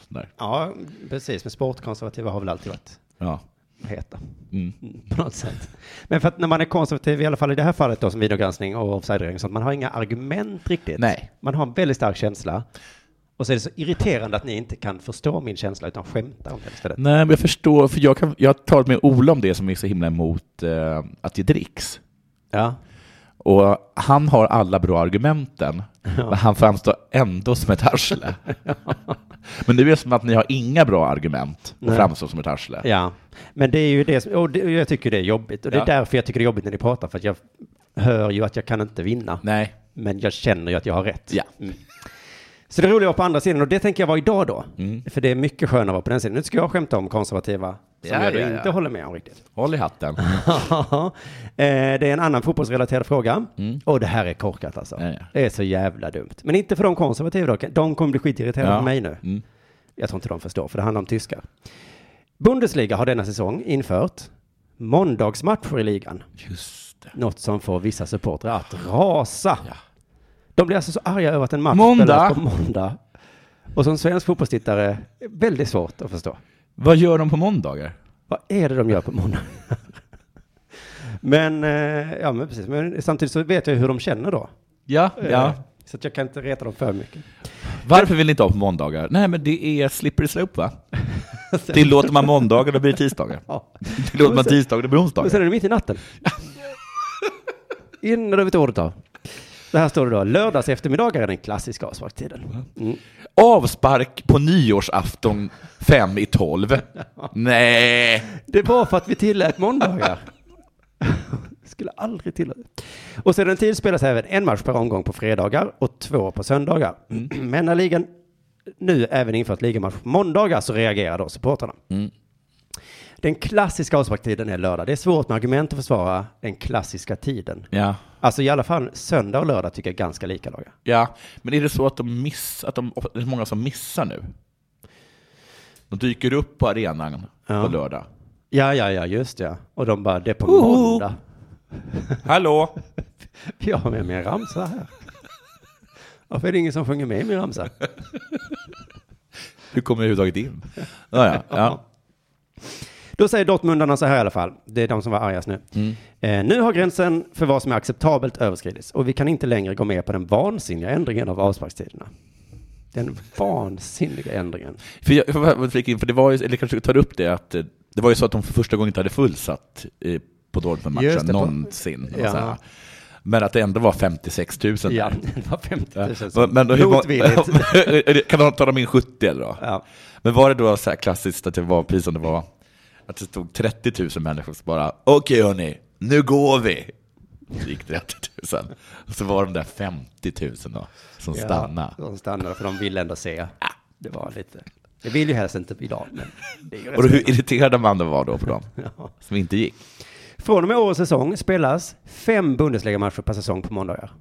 [SPEAKER 3] sådär.
[SPEAKER 1] Ja, precis. Men sportkonservativa har väl alltid varit
[SPEAKER 3] Ja.
[SPEAKER 1] heta.
[SPEAKER 3] Mm.
[SPEAKER 1] På något sätt. Men för att när man är konservativ, i alla fall i det här fallet då som videogranskning och offside och sånt, man har inga argument riktigt.
[SPEAKER 3] Nej.
[SPEAKER 1] Man har en väldigt stark känsla. Och så är det så irriterande att ni inte kan förstå min känsla utan skämtar om det istället.
[SPEAKER 3] Nej, men jag förstår, för jag, kan, jag har talat med Ola om det som är så himla emot eh, att det dricks.
[SPEAKER 1] Ja.
[SPEAKER 3] Och han har alla bra argumenten, men han framstår ändå som
[SPEAKER 1] <laughs>
[SPEAKER 3] ett arsle. men nu är det som att ni har inga bra argument och
[SPEAKER 1] Nej.
[SPEAKER 3] framstår som ett arsle.
[SPEAKER 1] Ja, men det är ju det som, och det, och jag tycker det är jobbigt. Och det är
[SPEAKER 3] Ja.
[SPEAKER 1] därför jag tycker det är jobbigt när ni pratar, för att jag hör ju att jag kan inte vinna.
[SPEAKER 3] Nej.
[SPEAKER 1] Men jag känner ju att jag har rätt.
[SPEAKER 3] Ja.
[SPEAKER 1] Så det roliga var på andra sidan, och det tänker jag vara idag då.
[SPEAKER 3] Mm.
[SPEAKER 1] För det är mycket skönare att vara på den sidan. Nu ska jag skämta om konservativa, som
[SPEAKER 3] Ja,
[SPEAKER 1] jag då
[SPEAKER 3] ja, ja.
[SPEAKER 1] inte håller med om riktigt.
[SPEAKER 3] Håll i hatten.
[SPEAKER 1] Ja, <laughs> eh, det är en annan fotbollsrelaterad fråga. Och det här är korkat alltså.
[SPEAKER 3] Mm. Ja, ja.
[SPEAKER 1] Det är så jävla dumt. Men inte för de konservativa dock. De kommer bli skitirriterade
[SPEAKER 3] Ja.
[SPEAKER 1] på mig nu.
[SPEAKER 3] Mm.
[SPEAKER 1] Jag tror inte de förstår, för det handlar om tyskar. Bundesliga har denna säsong infört måndagsmatcher i ligan.
[SPEAKER 3] Just det.
[SPEAKER 1] Något som får vissa supportrar att rasa. De blir alltså så arga över att en match
[SPEAKER 3] Måndag.
[SPEAKER 1] spelas på måndag. Och som svensk fotbollstittare, väldigt svårt att förstå.
[SPEAKER 3] Vad gör de på måndagar?
[SPEAKER 1] Vad är det de gör på måndag? <laughs> men, eh, ja men precis. Men samtidigt så vet jag ju hur de känner då.
[SPEAKER 3] Ja,
[SPEAKER 1] Eh, Så att jag kan inte reta dem för mycket.
[SPEAKER 3] Varför vill ni inte ha på måndagar? Nej, men det är slippery
[SPEAKER 1] <laughs>
[SPEAKER 3] slope, va? Tillåter man måndagar, då blir det tisdagar.
[SPEAKER 1] Ja.
[SPEAKER 3] Tillåter
[SPEAKER 1] Men
[SPEAKER 3] man
[SPEAKER 1] sen-
[SPEAKER 3] tisdagar, då blir det
[SPEAKER 1] Men sen
[SPEAKER 3] onsdagar.
[SPEAKER 1] är det mitt i <laughs> natten. Innan du vet ordet av. Det här står det då. Lördags eftermiddagar är den klassiska avsparktiden. Mm.
[SPEAKER 3] Avspark på nyårsafton fem
[SPEAKER 1] <laughs>
[SPEAKER 3] i tolv. Nej!
[SPEAKER 1] Det var för att vi tillät måndagar. <laughs> Skulle aldrig tillåta. Och sedan tid spelas även en match per omgång på fredagar och två på söndagar. Men när ligan nu även infört ligamatch på måndagar så reagerar då supportrarna. Den klassiska avsparktiden är lördag. Det är svårt med argument att försvara den klassiska tiden.
[SPEAKER 3] Ja.
[SPEAKER 1] Alltså i alla fall söndag och lördag tycker jag är ganska lika dagar.
[SPEAKER 3] ja, men är det så att de miss, att de, det är många som missar nu? De dyker upp på arenan
[SPEAKER 1] Ja.
[SPEAKER 3] på lördag.
[SPEAKER 1] Ja, ja, ja, just ja. Och de bara, det är på
[SPEAKER 3] Oho.
[SPEAKER 1] måndag.
[SPEAKER 3] Hallå!
[SPEAKER 1] Jag har med mig en ramsa här. <laughs> Varför är det ingen som sjunger med i min ramsa?
[SPEAKER 3] Hur kommer jag överhuvudtaget in? Ja,
[SPEAKER 1] <laughs>
[SPEAKER 3] ja. ja.
[SPEAKER 1] Då säger Dortmundarna så här i alla fall. Det är de som var argast nu.
[SPEAKER 3] Mm.
[SPEAKER 1] Eh, nu har gränsen för vad som är acceptabelt överskridits och vi kan inte längre gå med på den vansinniga ändringen av avsparkstiderna. Den vansinniga ändringen.
[SPEAKER 3] För jag för, för, flika in, för det var ju, eller kanske tar upp det, att eh, det var ju så att de för första gången inte hade fullsatt eh, på
[SPEAKER 1] Just
[SPEAKER 3] Dortmund-matchen
[SPEAKER 1] det, på-
[SPEAKER 3] någonsin. eller
[SPEAKER 1] Ja.
[SPEAKER 3] så här. Men att det ändå var 56 000 där.
[SPEAKER 1] Ja, det var 50 000.
[SPEAKER 3] Men, men, hur <laughs>
[SPEAKER 1] Motvilligt.
[SPEAKER 3] var, kan de ta dem in 70 eller då?
[SPEAKER 1] Ja.
[SPEAKER 3] Men var det då så här klassiskt att det var precis som det var, att det stod 30 000 människor som bara okej hörni, nu går vi. Så gick 30 000. Och så var de där 50 000 då, som stannade.
[SPEAKER 1] Ja, de stannade för de ville ändå se. Det var lite. Det vill ju helst inte idag. Men det är ju rätt
[SPEAKER 3] Och då, hur irriterade man då var då på dem,
[SPEAKER 1] Ja.
[SPEAKER 3] som inte gick.
[SPEAKER 1] Från och med årets säsong spelas fem Bundesliga-matcher per säsong på måndagar.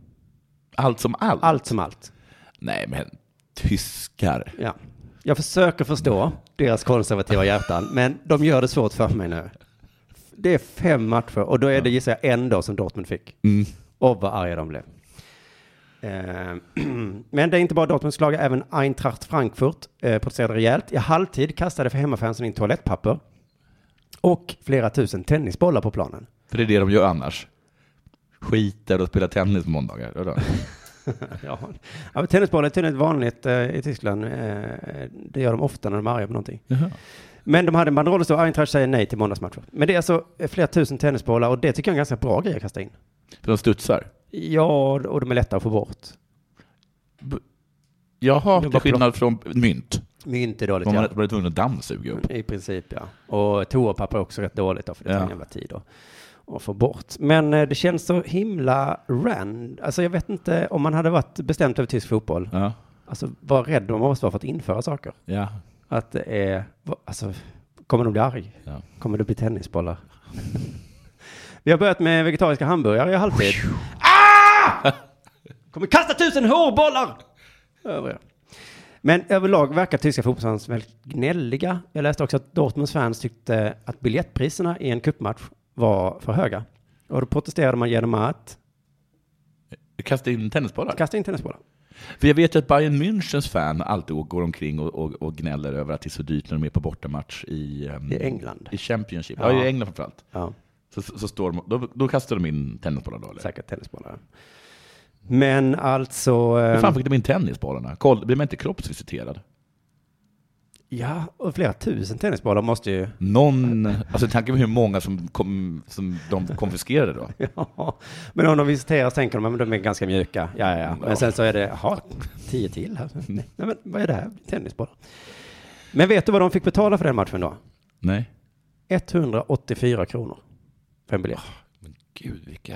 [SPEAKER 3] Allt som allt.
[SPEAKER 1] Allt som allt.
[SPEAKER 3] Nej men, tyskar.
[SPEAKER 1] Ja. Jag försöker förstå deras konservativa hjärtan, men de gör det svårt för mig nu. Det är fem matcher och då är det, gissar jag, en då som Dortmund fick.
[SPEAKER 3] Mm.
[SPEAKER 1] Och vad arga de blev. Eh, <clears throat> Men det är inte bara Dortmunds lag, även Eintracht Frankfurt eh, protesterade rejält. I halvtid kastade för hemmafansen in toalettpapper och flera tusen tennisbollar på planen.
[SPEAKER 3] För det är det de gör annars. Skiter och spelar tennis på måndagar. Ja, då.
[SPEAKER 1] <laughs> Ja, ja men tennisboll är tydligen vanligt eh, i Tyskland. Eh, det gör de ofta när de är arga på någonting. Men de hade en banderoll där det stod Eintracht säger nej till måndagsmatcher. Men det är alltså eh, flera tusen tennisbollar och det tycker jag är en ganska bra grej att kasta in.
[SPEAKER 3] För de studsar.
[SPEAKER 1] Ja, och de är lätta att få bort.
[SPEAKER 3] Jaha,
[SPEAKER 1] Det
[SPEAKER 3] till
[SPEAKER 1] var
[SPEAKER 3] skillnad från mynt.
[SPEAKER 1] Mynt är dåligt,
[SPEAKER 3] Man
[SPEAKER 1] ja.
[SPEAKER 3] var, var tvungen att dammsuga upp.
[SPEAKER 1] I princip, ja. Och toapapper är också rätt dåligt, då, för det tar
[SPEAKER 3] Ja.
[SPEAKER 1] en jävla tid att, att få bort. Men eh, det känns så himla rand. Alltså jag vet inte, om man hade varit bestämt över tysk fotboll,
[SPEAKER 3] Ja,
[SPEAKER 1] alltså var rädd man måste vara för att införa saker.
[SPEAKER 3] ja.
[SPEAKER 1] Att det är, va- alltså, kommer de bli arg?
[SPEAKER 3] Ja.
[SPEAKER 1] Kommer det bli tennisbollar? <laughs> Vi har börjat med vegetariska hamburgare i halvtid. ah! Kommer kasta tusen hårbollar! Över er. Men överlag verkar tyska fotbollsfans väldigt gnälliga. Jag läste också att Dortmunds fans tyckte att biljettpriserna i en cupmatch var för höga. Och då protesterade man genom att
[SPEAKER 3] Kasta in tennisbollar.
[SPEAKER 1] kasta in tennisbollar.
[SPEAKER 3] För jag vet ju att Bayern Münchens fan alltid går omkring och, och, och gnäller över att det är så dyrt när de är på bortamatch i, ehm,
[SPEAKER 1] I England.
[SPEAKER 3] I Championship.
[SPEAKER 1] Ja.
[SPEAKER 3] Ja, i England framförallt.
[SPEAKER 1] Ja.
[SPEAKER 3] Så, så så står de, då, då kastar de in tennisbollar då, eller?
[SPEAKER 1] Säkert tennisbollar. Men alltså...
[SPEAKER 3] Hur fan
[SPEAKER 1] ehm,
[SPEAKER 3] fick de in tennisbollarna? Koll, blir man inte kroppsvisiterad?
[SPEAKER 1] Ja, och flera tusen tennisbollar måste ju... <laughs>
[SPEAKER 3] Någon, alltså tanken på hur många som, kom, som de konfiskerade då.
[SPEAKER 1] Ja, men om de visiterar så tänker de att de är ganska mjuka. Ja, ja, ja. Men sen så är det, jaha, tio till här. <laughs> Nej, men vad är det här? Tennisbollar. Men vet du vad de fick betala för den matchen då?
[SPEAKER 3] Nej.
[SPEAKER 1] 184 kronor för en biljett.
[SPEAKER 3] Men gud, vilka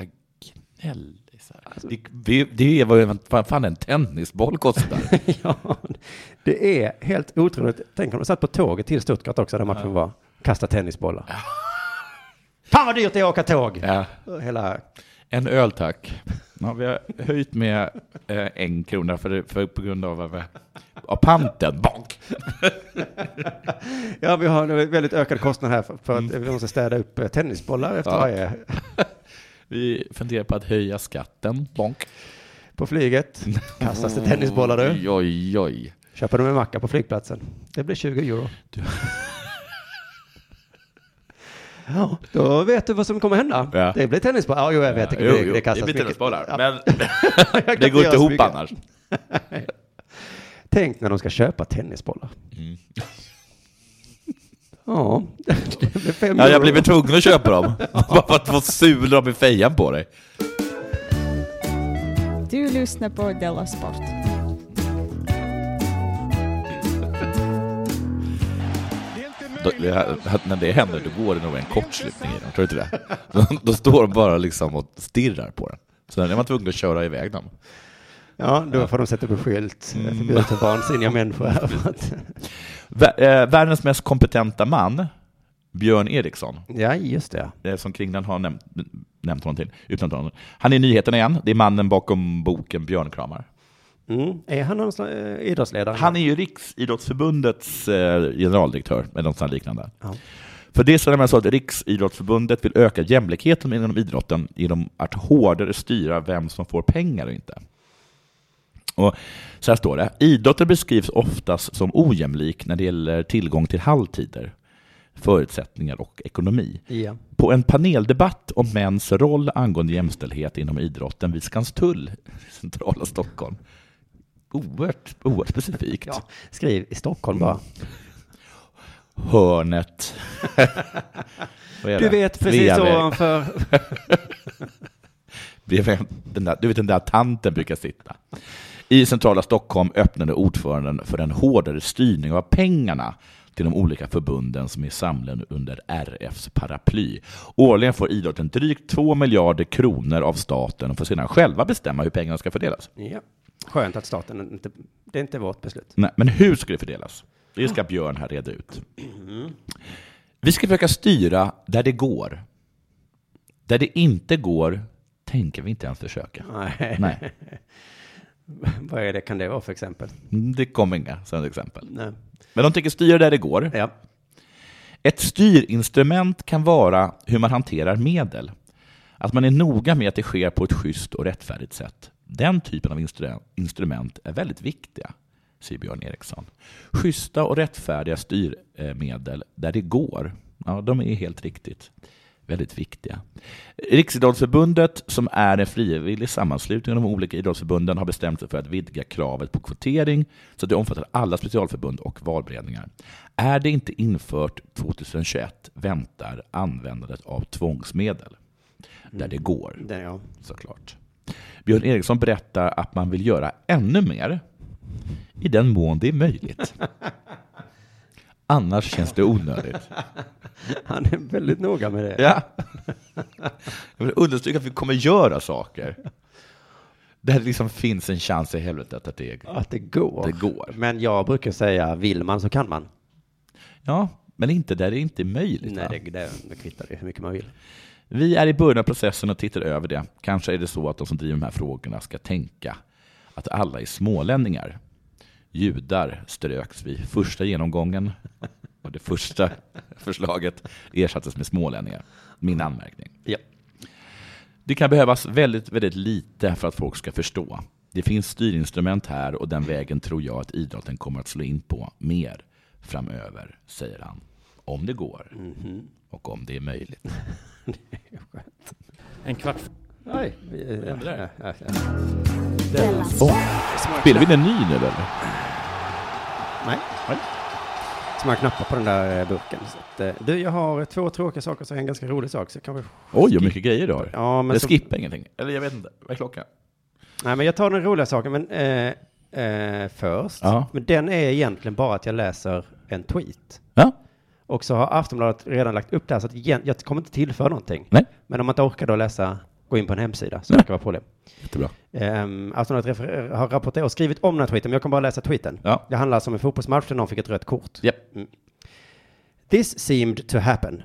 [SPEAKER 3] gnällisar. Alltså, Det, det, det är vad vad fan en tennisboll kostar.
[SPEAKER 1] <laughs> ja, det är helt otroligt. Tänk om de satt på tåget till Stuttgart också, där matchen var. Kasta tennisbollar. Fan vad dyrt det är att åka tåg!
[SPEAKER 3] Ja.
[SPEAKER 1] Hela...
[SPEAKER 3] En öl tack. Ja, vi har höjt med eh, en krona för, för, på grund av, eh, av panten. Bonk!
[SPEAKER 1] Ja, vi har en väldigt ökad kostnad här för, för att vi måste städa upp eh, tennisbollar efter
[SPEAKER 3] Mm. Ja.
[SPEAKER 1] varje
[SPEAKER 3] Vi funderar på att höja skatten. Bonk.
[SPEAKER 1] på
[SPEAKER 3] <laughs>
[SPEAKER 1] flyget. Kastas det tennisbollar du.
[SPEAKER 3] Oj, oj, oj.
[SPEAKER 1] Köper de en macka på flygplatsen. Det blir 20 euro.
[SPEAKER 3] Du-
[SPEAKER 1] <laughs> Ja, då vet du vad som kommer hända.
[SPEAKER 3] Ja.
[SPEAKER 1] Det blir tennisbollar. Ja, jo, jag vet. Det,
[SPEAKER 3] Jo,
[SPEAKER 1] det,
[SPEAKER 3] jo,
[SPEAKER 1] det kastas
[SPEAKER 3] blir
[SPEAKER 1] mycket.
[SPEAKER 3] tennisbollar.
[SPEAKER 1] Ja.
[SPEAKER 3] <laughs> Men
[SPEAKER 1] <laughs> Jag kan
[SPEAKER 3] det
[SPEAKER 1] inte
[SPEAKER 3] går
[SPEAKER 1] göra
[SPEAKER 3] inte
[SPEAKER 1] så
[SPEAKER 3] ihop
[SPEAKER 1] mycket.
[SPEAKER 3] annars.
[SPEAKER 1] Tänk när de ska köpa tennisbollar.
[SPEAKER 3] Mm.
[SPEAKER 1] <laughs> Ja, <laughs> det blir fem
[SPEAKER 3] Ja, jag
[SPEAKER 1] euro.
[SPEAKER 3] blir väl tvungen att köpa dem. Bara för att få sulor med fejan på dig.
[SPEAKER 2] Du lyssnar på Della Sport.
[SPEAKER 3] Då, det här- när det händer, då går det nog en kortslutning i dem. Tror du inte det? Då, då står de bara liksom och stirrar på den. Så den är man tvungen att köra iväg dem.
[SPEAKER 1] Ja, då får de sätta upp en skylt. Mm. Förbjudet för vansinniga
[SPEAKER 3] <laughs>
[SPEAKER 1] människor. här. För att-
[SPEAKER 3] Vä- eh, Världens mest kompetenta man, Björn Eriksson,
[SPEAKER 1] Ja, just det.
[SPEAKER 3] eh, som Kringland har nämnt, nämnt honom till, utan honom. Han är i nyheterna igen. Det är mannen bakom boken Björnkramar.
[SPEAKER 1] Mm. Är han någon slags, eh, idrottsledare?
[SPEAKER 3] Han är ju Riksidrottsförbundets eh, generaldirektör, eller något sånt liknande.
[SPEAKER 1] Ja.
[SPEAKER 3] För det är så nämligen så att Riksidrottsförbundet vill öka jämlikheten inom idrotten genom att hårdare styra vem som får pengar och inte. Och så här står det. Idrotten beskrivs oftast som ojämlik när det gäller tillgång till halvtider, förutsättningar och ekonomi.
[SPEAKER 1] Ja.
[SPEAKER 3] På en paneldebatt om mäns roll angående jämställdhet inom idrotten vid Skanstull i centrala Stockholm. Oerhört, oerhört specifikt.
[SPEAKER 1] ja. Skriv i Stockholm bara. <laughs>
[SPEAKER 3] Hörnet. Vad är
[SPEAKER 1] Du
[SPEAKER 3] det?
[SPEAKER 1] vet precis
[SPEAKER 3] Sveaväg.
[SPEAKER 1] ovanför.
[SPEAKER 3] Bredvid den där, du vet den där tanten brukar sitta. I centrala Stockholm öppnade ordföranden för en hårdare styrning av pengarna till de olika förbunden som är samlade under RFs paraply. Årligen får idrotten drygt 2 miljarder kronor av staten och får sedan själva bestämma hur pengarna ska fördelas.
[SPEAKER 1] <laughs> Ja. Skönt att staten inte, det är inte vårt beslut.
[SPEAKER 3] Nej, men hur ska det fördelas? Det ska Björn här reda ut. Vi ska försöka styra där det går. Där det inte går tänker vi inte ens försöka.
[SPEAKER 1] Nej.
[SPEAKER 3] Nej,
[SPEAKER 1] <laughs> Vad är det, kan det vara för exempel?
[SPEAKER 3] det kom inga sådana exempel.
[SPEAKER 1] Nej.
[SPEAKER 3] Men de tänker styra där det går.
[SPEAKER 1] Ja.
[SPEAKER 3] Ett styrinstrument kan vara hur man hanterar medel. Att man är noga med att det sker på ett schysst och rättfärdigt sätt. Den typen av instru- instrument är väldigt viktiga, säger Björn Eriksson. Schyssta och rättfärdiga styrmedel där det går. Ja, de är helt riktigt väldigt viktiga. Riksidrottsförbundet, som är en frivillig sammanslutning av de olika idrottsförbunden, har bestämt sig för att vidga kravet på kvotering så att det omfattar alla specialförbund och valberedningar. Är det inte infört 2021 väntar användandet av tvångsmedel där det går,
[SPEAKER 1] Det, ja.
[SPEAKER 3] såklart. Björn Eriksson berättar att man vill göra ännu mer i den mån det är möjligt. Annars känns det onödigt.
[SPEAKER 1] Han är väldigt noga med det.
[SPEAKER 3] Ja. Jag vill understryka att vi kommer göra saker. Där det liksom finns en chans i helvetet att det
[SPEAKER 1] Att det går.
[SPEAKER 3] Det går.
[SPEAKER 1] Men jag brukar säga, vill man så kan man.
[SPEAKER 3] Ja, men inte där det inte är möjligt.
[SPEAKER 1] Nej,
[SPEAKER 3] va?
[SPEAKER 1] det, det, det kvittar ju hur mycket man vill.
[SPEAKER 3] Vi är i början av processen och tittar över det. Kanske är det så att de som driver de här frågorna ska tänka att alla är smålänningar. Judar ströks vid första genomgången och det första <laughs> förslaget ersattes med smålänningar. Min anmärkning.
[SPEAKER 1] Ja.
[SPEAKER 3] Det kan behövas väldigt, väldigt lite för att folk ska förstå. Det finns styrinstrument här och den vägen tror jag att idrotten kommer att slå in på mer framöver, säger han. Om det går
[SPEAKER 1] Mhm. <laughs>
[SPEAKER 3] och om det är möjligt.
[SPEAKER 4] En kvart.
[SPEAKER 1] Nej, vi, eh,
[SPEAKER 3] där.
[SPEAKER 1] ja, ja.
[SPEAKER 3] Spelar vi den ny nu eller?
[SPEAKER 1] Nej. Så man knappar på den där eh, burken. Så att, eh, du, jag har två tråkiga saker och så en ganska rolig sak. Så jag kanske...
[SPEAKER 3] Oj, vad mycket grejer du har.
[SPEAKER 1] Ja, men
[SPEAKER 3] jag
[SPEAKER 1] så...
[SPEAKER 3] skippar ingenting. Eller jag vet inte. Vad är klockan?
[SPEAKER 1] Nej, men jag tar den roliga saken men, eh, eh, först.
[SPEAKER 3] Ja.
[SPEAKER 1] Men den är egentligen bara att jag läser en tweet.
[SPEAKER 3] Ja.
[SPEAKER 1] Och så har Aftonbladet redan lagt upp det här, så att igen, jag kommer inte tillföra någonting.
[SPEAKER 3] Nej.
[SPEAKER 1] Men om man inte orkar då läsa, gå in på en hemsida, så
[SPEAKER 3] Nej.
[SPEAKER 1] det kan vara problem.
[SPEAKER 3] Jättebra.
[SPEAKER 1] Um, Aftonbladet refer- har rapporterat och skrivit om den här tweeten, men jag kan bara läsa tweeten.
[SPEAKER 3] Ja.
[SPEAKER 1] Det handlar alltså om en fotbollsmatch där någon fick ett rött kort. Mm.
[SPEAKER 3] Japp.
[SPEAKER 1] This seemed to happen.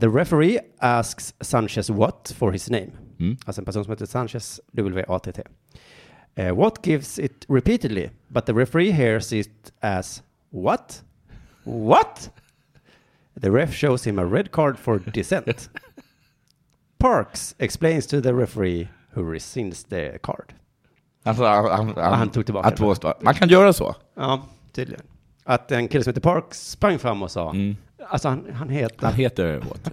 [SPEAKER 1] The referee asks Sanchez what for his name.
[SPEAKER 3] Mm.
[SPEAKER 1] Alltså en person som heter Sanchez, W-A-T-T. Eh, what gives it repeatedly, but the referee hears it as what? What? The ref shows him a red card for
[SPEAKER 3] <laughs>
[SPEAKER 1] dissent. Parks explains to the referee who rescinds the card.
[SPEAKER 3] Alltså, han, han,
[SPEAKER 1] han tog tillbaka
[SPEAKER 3] han påstår- Man kan göra så.
[SPEAKER 1] Ja, tydligen. Att en kille som heter Parks sprang fram och sa,
[SPEAKER 3] Mm.
[SPEAKER 1] alltså han, han heter,
[SPEAKER 3] Han heter Watt.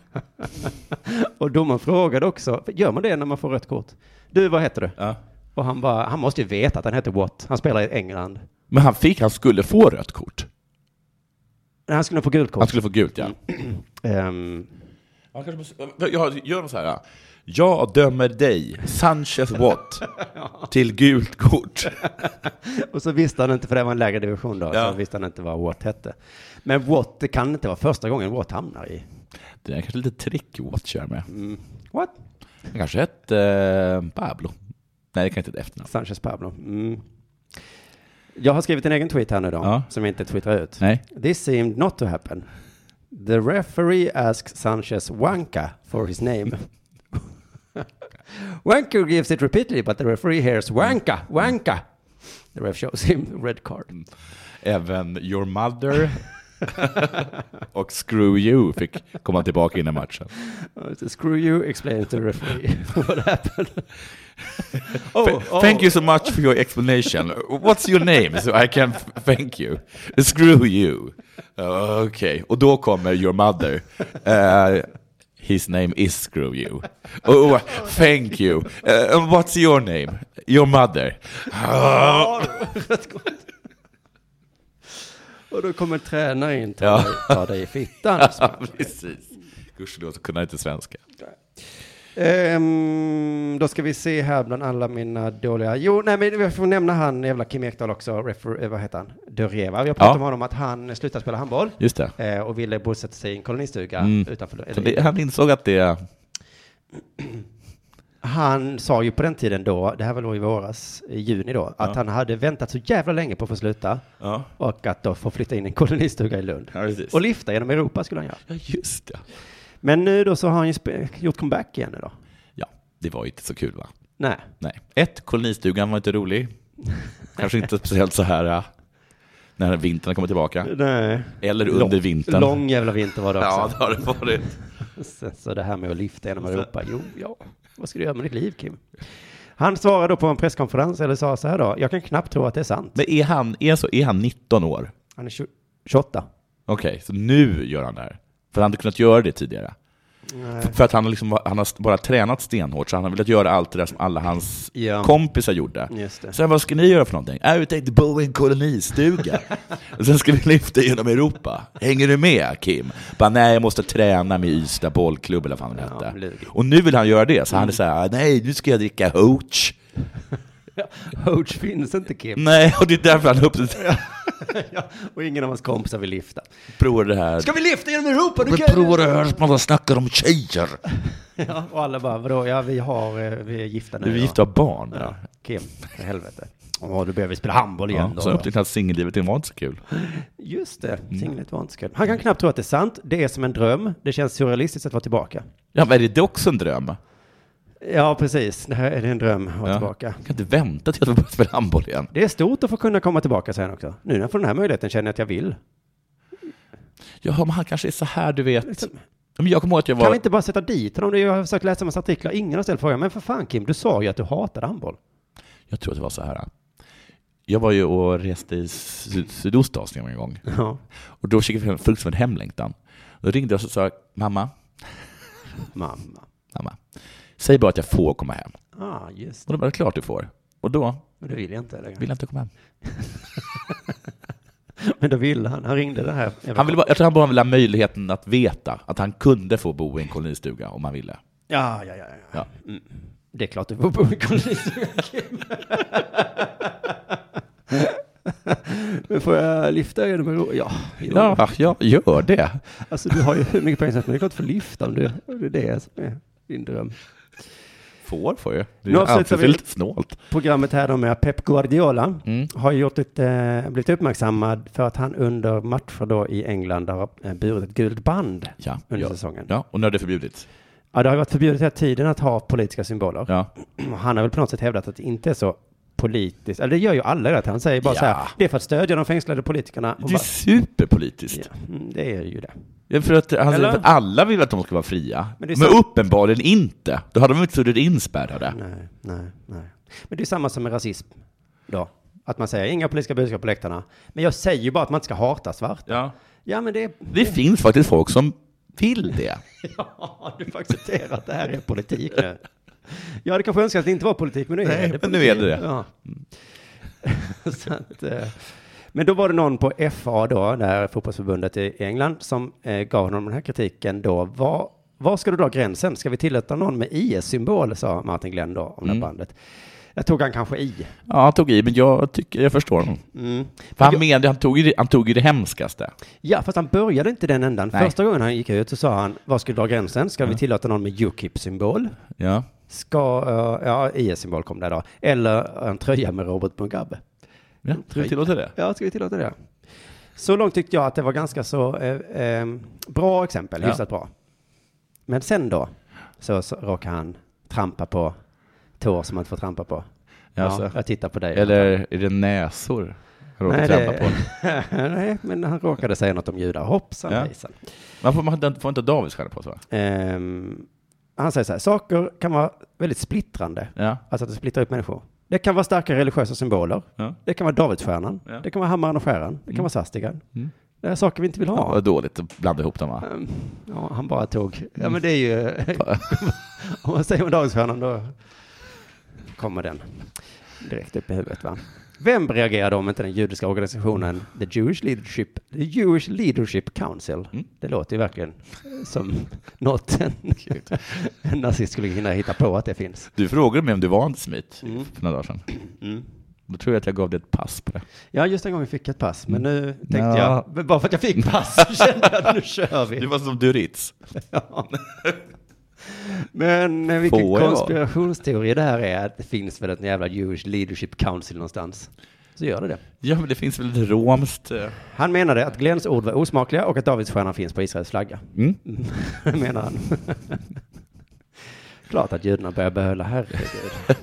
[SPEAKER 1] och domaren frågade också, gör man det när man får rött kort? Du, vad heter du?
[SPEAKER 3] Ja.
[SPEAKER 1] Och han bara, han måste ju veta att han heter Watt, han spelar i England.
[SPEAKER 3] Men han fick, han skulle få rött kort.
[SPEAKER 1] Nej, han skulle nog få gult
[SPEAKER 3] Han
[SPEAKER 1] kort.
[SPEAKER 3] skulle få gult,
[SPEAKER 1] Mm.
[SPEAKER 3] ja.
[SPEAKER 1] Ehm,
[SPEAKER 3] Han kanske måste, jag gör så här. ja. Jag dömer dig, Sanchez <laughs> Watt, till gult kort.
[SPEAKER 1] och så visste han inte, för det var en lägre division då,
[SPEAKER 3] Ja.
[SPEAKER 1] så visste han inte vad Watt hette. Men Watt, det kan inte vara första gången Watt hamnar i.
[SPEAKER 3] Det är kanske lite trick Watt kör med.
[SPEAKER 1] What?
[SPEAKER 3] Han kanske hette eh, Pablo. Nej, det kan inte ett efternamn.
[SPEAKER 1] Sanchez Pablo. Mm. Jag har skrivit en egen tweet här nu då,
[SPEAKER 3] Ja.
[SPEAKER 1] som jag inte twittrar ut.
[SPEAKER 3] Nej.
[SPEAKER 1] This seemed not to happen. The referee asks Sanchez Wanka for his name.
[SPEAKER 3] <laughs>
[SPEAKER 1] Wanker gives it repeatedly, but the referee hears Wanka, Wanka. The ref shows him red card.
[SPEAKER 3] Även Your <laughs> Mother och Screw You fick komma tillbaka innan matchen. Mm.
[SPEAKER 1] Uh, so screw you, explain to the
[SPEAKER 3] <laughs>
[SPEAKER 1] referee what happened. oh, oh.
[SPEAKER 3] Thank you so much for your explanation. What's your name? So I can <laughs> f- thank you. Screw you. Okej, och då kommer your mother. Eh, his name is Screw you. Oh, thank you. Eh, and what's your name? Your mother. Ah. <laughs>
[SPEAKER 1] Och då kommer tränaren in, ta,
[SPEAKER 3] Ja.
[SPEAKER 1] dig, ta dig i
[SPEAKER 3] <laughs>
[SPEAKER 1] fittan.
[SPEAKER 3] Precis. Gudskelov så kunde jag inte svenska.
[SPEAKER 1] Ehm, då ska vi se här bland alla mina dåliga. Jo, nej, men jag får nämna han jävla Kim Ekdahl också. Refer, eh, vad heter han? Dörjeva. Vi har pratat
[SPEAKER 3] Ja.
[SPEAKER 1] om honom att han slutade spela handboll
[SPEAKER 3] Just det.
[SPEAKER 1] eh, och ville bosätta sig i en kolonistuga
[SPEAKER 3] Mm.
[SPEAKER 1] utanför.
[SPEAKER 3] Så
[SPEAKER 1] Eller,
[SPEAKER 3] det- Han insåg att det...
[SPEAKER 1] han sa ju på den tiden då, det här var då i våras, i juni då, att
[SPEAKER 3] Ja.
[SPEAKER 1] han hade väntat så jävla länge på att få sluta
[SPEAKER 3] Ja,
[SPEAKER 1] och att då få flytta in i en <laughs> kolonistuga i Lund.
[SPEAKER 3] precis.
[SPEAKER 1] Och lyfta genom Europa skulle han göra.
[SPEAKER 3] Ja, just det.
[SPEAKER 1] Men nu då så har han ju spe- gjort comeback igen nu då.
[SPEAKER 3] Ja, det var ju inte så kul va?
[SPEAKER 1] Nej.
[SPEAKER 3] Nej. Ett, kolonistugan var inte rolig. Kanske inte speciellt så här äh, när vintern kommer tillbaka.
[SPEAKER 1] Nej.
[SPEAKER 3] Eller under vintern.
[SPEAKER 1] Lång jävla vinter var det också.
[SPEAKER 3] Ja,
[SPEAKER 1] <laughs>
[SPEAKER 3] det har det varit.
[SPEAKER 1] Sen så det här med att lyfta genom Europa, jo, ja, vad ska du göra med ditt liv, Kim? Han svarade då på en presskonferens, eller sa så här då, jag kan knappt tro att det är sant.
[SPEAKER 3] Men är han, är, så, är han 19 år?
[SPEAKER 1] Han är tjo- 28.
[SPEAKER 3] Okej, så nu gör han det här. För han hade kunnat göra det tidigare. För, för att han, har liksom, han har bara tränat stenhårt, så han har velat göra allt det där som alla hans
[SPEAKER 1] Ja.
[SPEAKER 3] kompisar gjorde.
[SPEAKER 1] Just det.
[SPEAKER 3] Sen vad ska ni göra för någonting? Äh, vi tänkte bo i en kolonistuga. Och Sen ska vi lyfta genom Europa. Hänger du med Kim? Bara, nej, jag måste träna med Ystad bollklubb eller vad fan
[SPEAKER 1] Ja, Mm.
[SPEAKER 3] det hette.
[SPEAKER 1] lugg.
[SPEAKER 3] Och nu vill han göra det, så han är så här, nej, nu ska jag dricka hooch.
[SPEAKER 1] Hoach finns inte, Kim.
[SPEAKER 3] Nej, och det är därför han upp-
[SPEAKER 1] Ja, och ingen av hans kompisar vill lyfta.
[SPEAKER 3] provar det här.
[SPEAKER 1] Ska vi lyfta genom Europa? Du
[SPEAKER 3] Vi
[SPEAKER 1] kan...
[SPEAKER 3] provar det här som alla snackar om tjejer.
[SPEAKER 1] Ja, och alla bara, vadå, ja, vi, har, eh, vi är gifta nu.
[SPEAKER 3] Du är
[SPEAKER 1] då."
[SPEAKER 3] gift och har barn.
[SPEAKER 1] Ja,
[SPEAKER 3] Ja.
[SPEAKER 1] Kim, för helvete. Åh, du behöver spela handboll igen
[SPEAKER 3] Ja,
[SPEAKER 1] då.
[SPEAKER 3] så upptäckte han att singellivet det var inte så kul.
[SPEAKER 1] Just det, singlet var inte så kul. Han kan knappt tro att det är sant. Det är som en dröm. Det känns surrealistiskt att vara tillbaka.
[SPEAKER 3] Ja, men är det också en dröm?
[SPEAKER 1] Ja, precis. Det här är en dröm att vara
[SPEAKER 3] Ja.
[SPEAKER 1] tillbaka.
[SPEAKER 3] Jag kan inte vänta till att vi börjar spela handboll igen.
[SPEAKER 1] Det är stort att få kunna komma tillbaka sen också. Nu när jag får den här möjligheten känner jag att jag vill.
[SPEAKER 3] Ja, men han kanske är så här, du vet. Men jag kommer ihåg att jag var...
[SPEAKER 1] Liksom. Kan vi inte bara sätta dit honom? Jag har försökt läsa en massa artiklar. Ingen har ställt frågan. Men för fan Kim, du sa ju att du hatade handboll.
[SPEAKER 3] Jag tror att det var så här. Jag var ju och reste i syd- Sydostasien en gång.
[SPEAKER 1] Ja.
[SPEAKER 3] Och då fick jag fruktansvärd hemlängtan. Då ringde jag och sa, mamma,
[SPEAKER 1] Mamma.
[SPEAKER 3] mamma, säg bara att jag får komma hem.
[SPEAKER 1] ah, just
[SPEAKER 3] Och
[SPEAKER 1] det.
[SPEAKER 3] då var det klart du får. Och då
[SPEAKER 1] Men det vill jag inte. Eller?
[SPEAKER 3] ville jag inte komma hem.
[SPEAKER 1] Men då ville han. Han ringde det här.
[SPEAKER 3] Han ville bara, jag tror han bara ville ha möjligheten att veta att han kunde få bo i en kolonistuga om han ville.
[SPEAKER 1] Ja, ja, Mm. ja. ja.
[SPEAKER 3] Ja.
[SPEAKER 1] Det är klart du får bo i kolonistuga, Kim. Men får jag lyfta genom en ro? Ja. jo.
[SPEAKER 3] Ja, ja, gör det.
[SPEAKER 1] Alltså du har ju hur mycket pengar som helst, men det är klart du får lyfta om du, om det är det som är din dröm.
[SPEAKER 3] Får får ju. Det
[SPEAKER 1] Nu
[SPEAKER 3] är,
[SPEAKER 1] avslutar
[SPEAKER 3] alltid
[SPEAKER 1] vi-
[SPEAKER 3] lite snålt.
[SPEAKER 1] Programmet här då med Pep Guardiola
[SPEAKER 3] Mm.
[SPEAKER 1] har gjort ett, eh, blivit uppmärksammad för att han under matcher då i England har eh, burit ett gult band
[SPEAKER 3] Ja,
[SPEAKER 1] under
[SPEAKER 3] ja.
[SPEAKER 1] säsongen. Ja.
[SPEAKER 3] ja, och nu har det förbjudits.
[SPEAKER 1] det har ju varit förbjudet hela tiden att ha politiska symboler.
[SPEAKER 3] Ja.
[SPEAKER 1] Och <clears throat> Han har väl på något sätt hävdat att det inte är så politiskt. Eller det gör ju alla rätt. Han säger bara
[SPEAKER 3] Ja.
[SPEAKER 1] så här, det är för att stödja de fängslade politikerna. Och
[SPEAKER 3] Det är
[SPEAKER 1] bara,
[SPEAKER 3] superpolitiskt.
[SPEAKER 1] ja, mm, det är ju det.
[SPEAKER 3] Ja, För att han säger
[SPEAKER 1] Eller?
[SPEAKER 3] att alla vill att de ska vara fria.
[SPEAKER 1] Men
[SPEAKER 3] Men,
[SPEAKER 1] det är så-
[SPEAKER 3] uppenbarligen inte. Då hade de inte suttit inspärrade.
[SPEAKER 1] Nej, nej, nej. Men det är samma som med rasism då. Att man säger inga politiska budskap på läktarna. Men jag säger ju bara att man inte ska hata svart.
[SPEAKER 3] Ja.
[SPEAKER 1] Ja, men det är...
[SPEAKER 3] Det finns faktiskt folk som vill det.
[SPEAKER 1] <laughs> Ja, du får acceptera att det här är politik nu. Jag hade kanske önskat att det inte var politik, men nu är
[SPEAKER 3] Nej,
[SPEAKER 1] det
[SPEAKER 3] men nu är det
[SPEAKER 1] politik.
[SPEAKER 3] det.
[SPEAKER 1] Ja. <laughs> Så att, eh, men då var det någon på FA då, det här fotbollsförbundet i England, som eh, gav honom den här kritiken då. Var, var ska du dra gränsen? Ska vi tillåta någon med IS-symbol, sa Martin Glenn då, om
[SPEAKER 3] Mm.
[SPEAKER 1] det här bandet. Jag tog han kanske i.
[SPEAKER 3] Ja, han tog i, men jag, tycker, jag förstår honom.
[SPEAKER 1] Mm.
[SPEAKER 3] För han, menade, han, tog ju, det- han tog ju det hemskaste.
[SPEAKER 1] Ja, fast han började inte den ändan.
[SPEAKER 3] Nej. Mm.
[SPEAKER 1] Första gången han gick ut så sa han, var ska du dra gränsen? Ska vi tillåta någon med UKIP-symbol?
[SPEAKER 3] Ja.
[SPEAKER 1] Ska, eh, ja, IS-symbol kom där då. Eller en tröja med Robert Mugabe.
[SPEAKER 3] ja tror du tillåter det?
[SPEAKER 1] Ja, ska vi tillåta det? Så långt tyckte jag att det var ganska så eh, eh, bra exempel,
[SPEAKER 3] Ja.
[SPEAKER 1] hyfsat bra. Men sen då, så, så råkade han trampa på tår som man inte får trampa på. Ja,
[SPEAKER 3] Alltså.
[SPEAKER 1] jag tittar på dig.
[SPEAKER 3] Eller är det näsor han råkar trampa på?
[SPEAKER 1] <laughs> nej, men han råkade säga något om judar. Hoppsan
[SPEAKER 3] Ja.
[SPEAKER 1] hejsan.
[SPEAKER 3] Man får, man får inte ha davidsstjärna på sig va?
[SPEAKER 1] Ehm, han säger så här, saker kan vara väldigt splittrande.
[SPEAKER 3] Ja.
[SPEAKER 1] Alltså att det splittrar upp människor. Det kan vara starka religiösa symboler.
[SPEAKER 3] Ja.
[SPEAKER 1] Det kan vara Davidsstjärnan.
[SPEAKER 3] Ja.
[SPEAKER 1] Det kan vara hammaren och skäran. Det kan vara svastikan.
[SPEAKER 3] Mm.
[SPEAKER 1] Det är saker vi inte vill
[SPEAKER 3] Ja.
[SPEAKER 1] ha.
[SPEAKER 3] Vad dåligt att blanda ihop dem va?
[SPEAKER 1] Ehm, Ja, han bara tog. Ja,
[SPEAKER 3] Mm.
[SPEAKER 1] men det är
[SPEAKER 3] <laughs>
[SPEAKER 1] ju... Om man säger om Davidsstjärnan då kommer den direkt upp i huvudet va. Vem reagerade om inte den judiska organisationen The Jewish Leadership, The Jewish Leadership Council?
[SPEAKER 3] Mm.
[SPEAKER 1] Det låter ju verkligen som något en, en nazist skulle hinna hitta på att det finns.
[SPEAKER 3] Du frågade mig om du var antisemit
[SPEAKER 1] Mm.
[SPEAKER 3] för några dagar sedan.
[SPEAKER 1] Mm.
[SPEAKER 3] Då tror jag att jag gav dig ett pass på det.
[SPEAKER 1] Ja, just den gången fick jag ett pass, men nu tänkte
[SPEAKER 3] Mm. Ja. Mm.
[SPEAKER 1] jag, men bara för att jag fick pass så
[SPEAKER 3] <laughs>
[SPEAKER 1] kände jag att nu kör vi.
[SPEAKER 3] var som Duritz.
[SPEAKER 1] Ja. Men eh, vilken
[SPEAKER 3] Får jag?
[SPEAKER 1] konspirationsteori det här är, att det finns väl ett jävla Jewish Leadership Council någonstans. Så gör det det.
[SPEAKER 3] Ja, men det finns väl ett romskt... eh,
[SPEAKER 1] Han menade att Glens ord var osmakliga och att Davidsstjärnan finns på Israels flagga.
[SPEAKER 3] Mm.
[SPEAKER 1] Mm, <laughs> Det menar
[SPEAKER 3] <laughs>
[SPEAKER 1] han. Klart att judarna börjar behålla, herregud.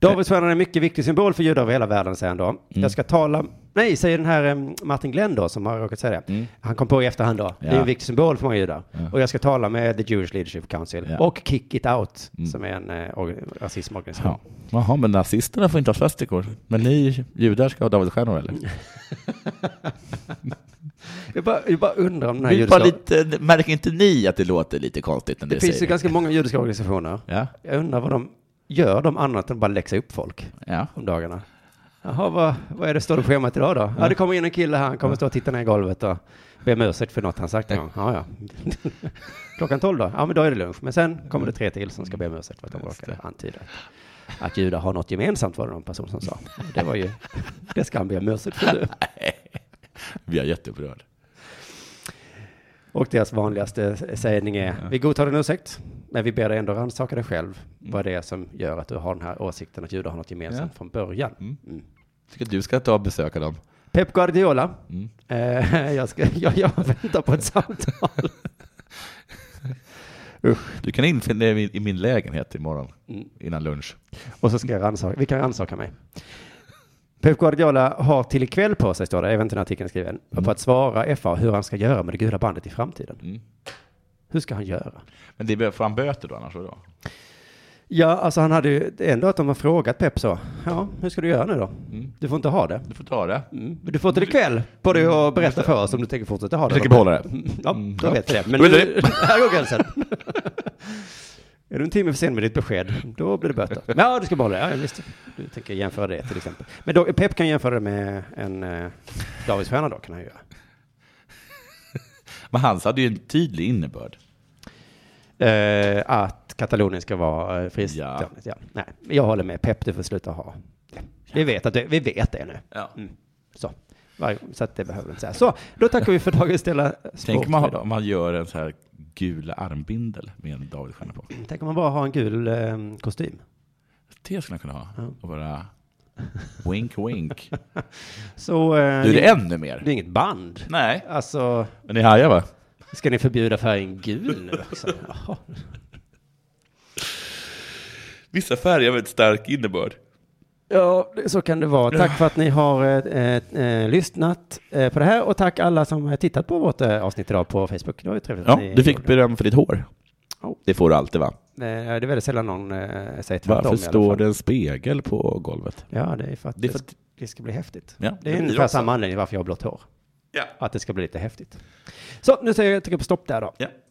[SPEAKER 1] Davidsstjärnan är en mycket viktig symbol för judar över hela världen, säger han då.
[SPEAKER 3] Mm.
[SPEAKER 1] Jag ska tala, nej, säger den här em, Martin Glenn då, som har råkat säga det.
[SPEAKER 3] Mm.
[SPEAKER 1] Han kom på i efterhand då. Det är
[SPEAKER 3] Ja.
[SPEAKER 1] en viktig symbol för många judar. Och jag ska tala med The Jewish Leadership Council
[SPEAKER 3] Ja.
[SPEAKER 1] och Kick It Out,
[SPEAKER 3] Mm.
[SPEAKER 1] som är en eh, orga- rasismorganisation.
[SPEAKER 3] Ja. Jaha, men nazisterna får inte ha svastikor. Men ni judar ska ha Davidsstjärnor eller?
[SPEAKER 1] Jag, bara, jag bara undrar om den här
[SPEAKER 3] Vi
[SPEAKER 1] judiska...
[SPEAKER 3] bara lite, märker inte ni att det låter lite konstigt när
[SPEAKER 1] det
[SPEAKER 3] ni
[SPEAKER 1] finns ju
[SPEAKER 3] säger det?
[SPEAKER 1] ganska många judiska organisationer.
[SPEAKER 3] Ja,
[SPEAKER 1] Jag undrar vad de gör de annat än bara läxa upp folk
[SPEAKER 3] ja.
[SPEAKER 1] om dagarna. Jaha, vad, vad är det står på schemat idag då? Ja, det kommer in en kille här, han kommer stå och titta ner i golvet och be om ursäkt för något han sagt en gång. Ja, <laughs> ja. Klockan tolv då? Ja, men då är det lunch. Men sen kommer det tre till som ska be om ursäkt för att de råkade antyda att- att judar har något gemensamt, var det någon person som sa. Det var ju, det ska han be om ursäkt för nu.
[SPEAKER 3] Vi är jätteupprörda.
[SPEAKER 1] Och deras vanligaste sägning är, vi godtar din ursäkt, men vi ber dig ändå rannsaka dig själv, vad det är som gör att du har den här åsikten att judar har något gemensamt
[SPEAKER 3] Ja.
[SPEAKER 1] från början.
[SPEAKER 3] Mm.
[SPEAKER 1] Mm.
[SPEAKER 3] Tycker du ska ta och besöka dem?
[SPEAKER 1] Pep Guardiola,
[SPEAKER 3] Mm.
[SPEAKER 1] eh, jag, ska, jag, jag väntar på ett <laughs> samtal.
[SPEAKER 3] Du kan infinna dig i min- i min lägenhet imorgon
[SPEAKER 1] Mm.
[SPEAKER 3] innan lunch.
[SPEAKER 1] Och så ska jag rannsaka, vi kan rannsaka mig. Pep Guardiola har till ikväll på sig, står det, även till den här artikeln är skriven, på att svara FA hur han ska göra med det gula bandet i framtiden.
[SPEAKER 3] Mm.
[SPEAKER 1] Hur ska han göra?
[SPEAKER 3] Men det bör- får han böter då annars? Då?
[SPEAKER 1] Ja, alltså han hade ju ändå att de har frågat Pep så. Ja, hur ska du göra nu då?
[SPEAKER 3] Mm.
[SPEAKER 1] Du får inte ha det.
[SPEAKER 3] Du får ta det.
[SPEAKER 1] Mm. Du får till ikväll på dig och berätta för oss om du tänker fortsätta ha det.
[SPEAKER 3] Mm.
[SPEAKER 1] Mm.
[SPEAKER 3] Jag tänker behålla det.
[SPEAKER 1] <laughs> Ja, då vet vi det. Men
[SPEAKER 3] Då är
[SPEAKER 1] nu, här går gränsen. Är du en timme för sen med ditt besked, då blir det böter. Men ja, du ska behålla det. Ja, visst. Du tänker jämföra det till exempel. Men då, Pep kan jämföra det med en eh, dagisstjärna då, kan han göra.
[SPEAKER 3] Men hans hade ju en tydlig innebörd.
[SPEAKER 1] Eh, att Katalonien ska vara eh, frist. Ja.
[SPEAKER 3] Ja.
[SPEAKER 1] Nej, jag håller med. Pep, du får sluta ha det. Vi vet, att det, vi vet det nu.
[SPEAKER 3] Ja.
[SPEAKER 1] Mm. Så. Varje- Så att det behöver vi inte säga. Så, då tackar vi för dagens Stella Sport.
[SPEAKER 3] Tänk om man,
[SPEAKER 1] idag.
[SPEAKER 3] om man gör en så här gul armbindel med en davidsstjärna på.
[SPEAKER 1] Tänk om man bara har en gul eh, kostym.
[SPEAKER 3] Det skulle jag kunna ha.
[SPEAKER 1] Ja.
[SPEAKER 3] Och bara wink
[SPEAKER 1] <laughs>
[SPEAKER 3] wink.
[SPEAKER 1] Så... Eh,
[SPEAKER 3] Nu är det ännu mer.
[SPEAKER 1] det är inget band.
[SPEAKER 3] Nej,
[SPEAKER 1] Alltså,
[SPEAKER 3] men ni hajar va?
[SPEAKER 1] ska ni förbjuda färgen gul nu
[SPEAKER 3] <laughs>
[SPEAKER 1] också? Jaha.
[SPEAKER 3] Vissa färger har ett stark innebörd.
[SPEAKER 1] Ja, det- så kan det vara. Tack för att ni har eh, eh, eh, lyssnat eh, på det här och tack alla som har tittat på vårt eh, avsnitt idag på Facebook. Det Oh. var ju trevligt.
[SPEAKER 3] Ja,
[SPEAKER 1] att ni
[SPEAKER 3] du fick
[SPEAKER 1] gjorde det.
[SPEAKER 3] beröm för ditt hår.
[SPEAKER 1] Ja.
[SPEAKER 3] Det får du alltid va?
[SPEAKER 1] Eh, det är väldigt sällan någon eh, säger tvärtom. i
[SPEAKER 3] Varför
[SPEAKER 1] alla
[SPEAKER 3] står
[SPEAKER 1] fall.
[SPEAKER 3] det en spegel på golvet?
[SPEAKER 1] Ja, det är för att
[SPEAKER 3] Det
[SPEAKER 1] det,
[SPEAKER 3] är för att-
[SPEAKER 1] det ska bli häftigt.
[SPEAKER 3] Ja, det
[SPEAKER 1] det är
[SPEAKER 3] blir
[SPEAKER 1] ungefär
[SPEAKER 3] också.
[SPEAKER 1] samma anledning varför jag har blått hår.
[SPEAKER 3] Ja.
[SPEAKER 1] Att det ska bli lite häftigt. Så, nu säger jag, jag trycker på stopp där då.
[SPEAKER 3] Ja.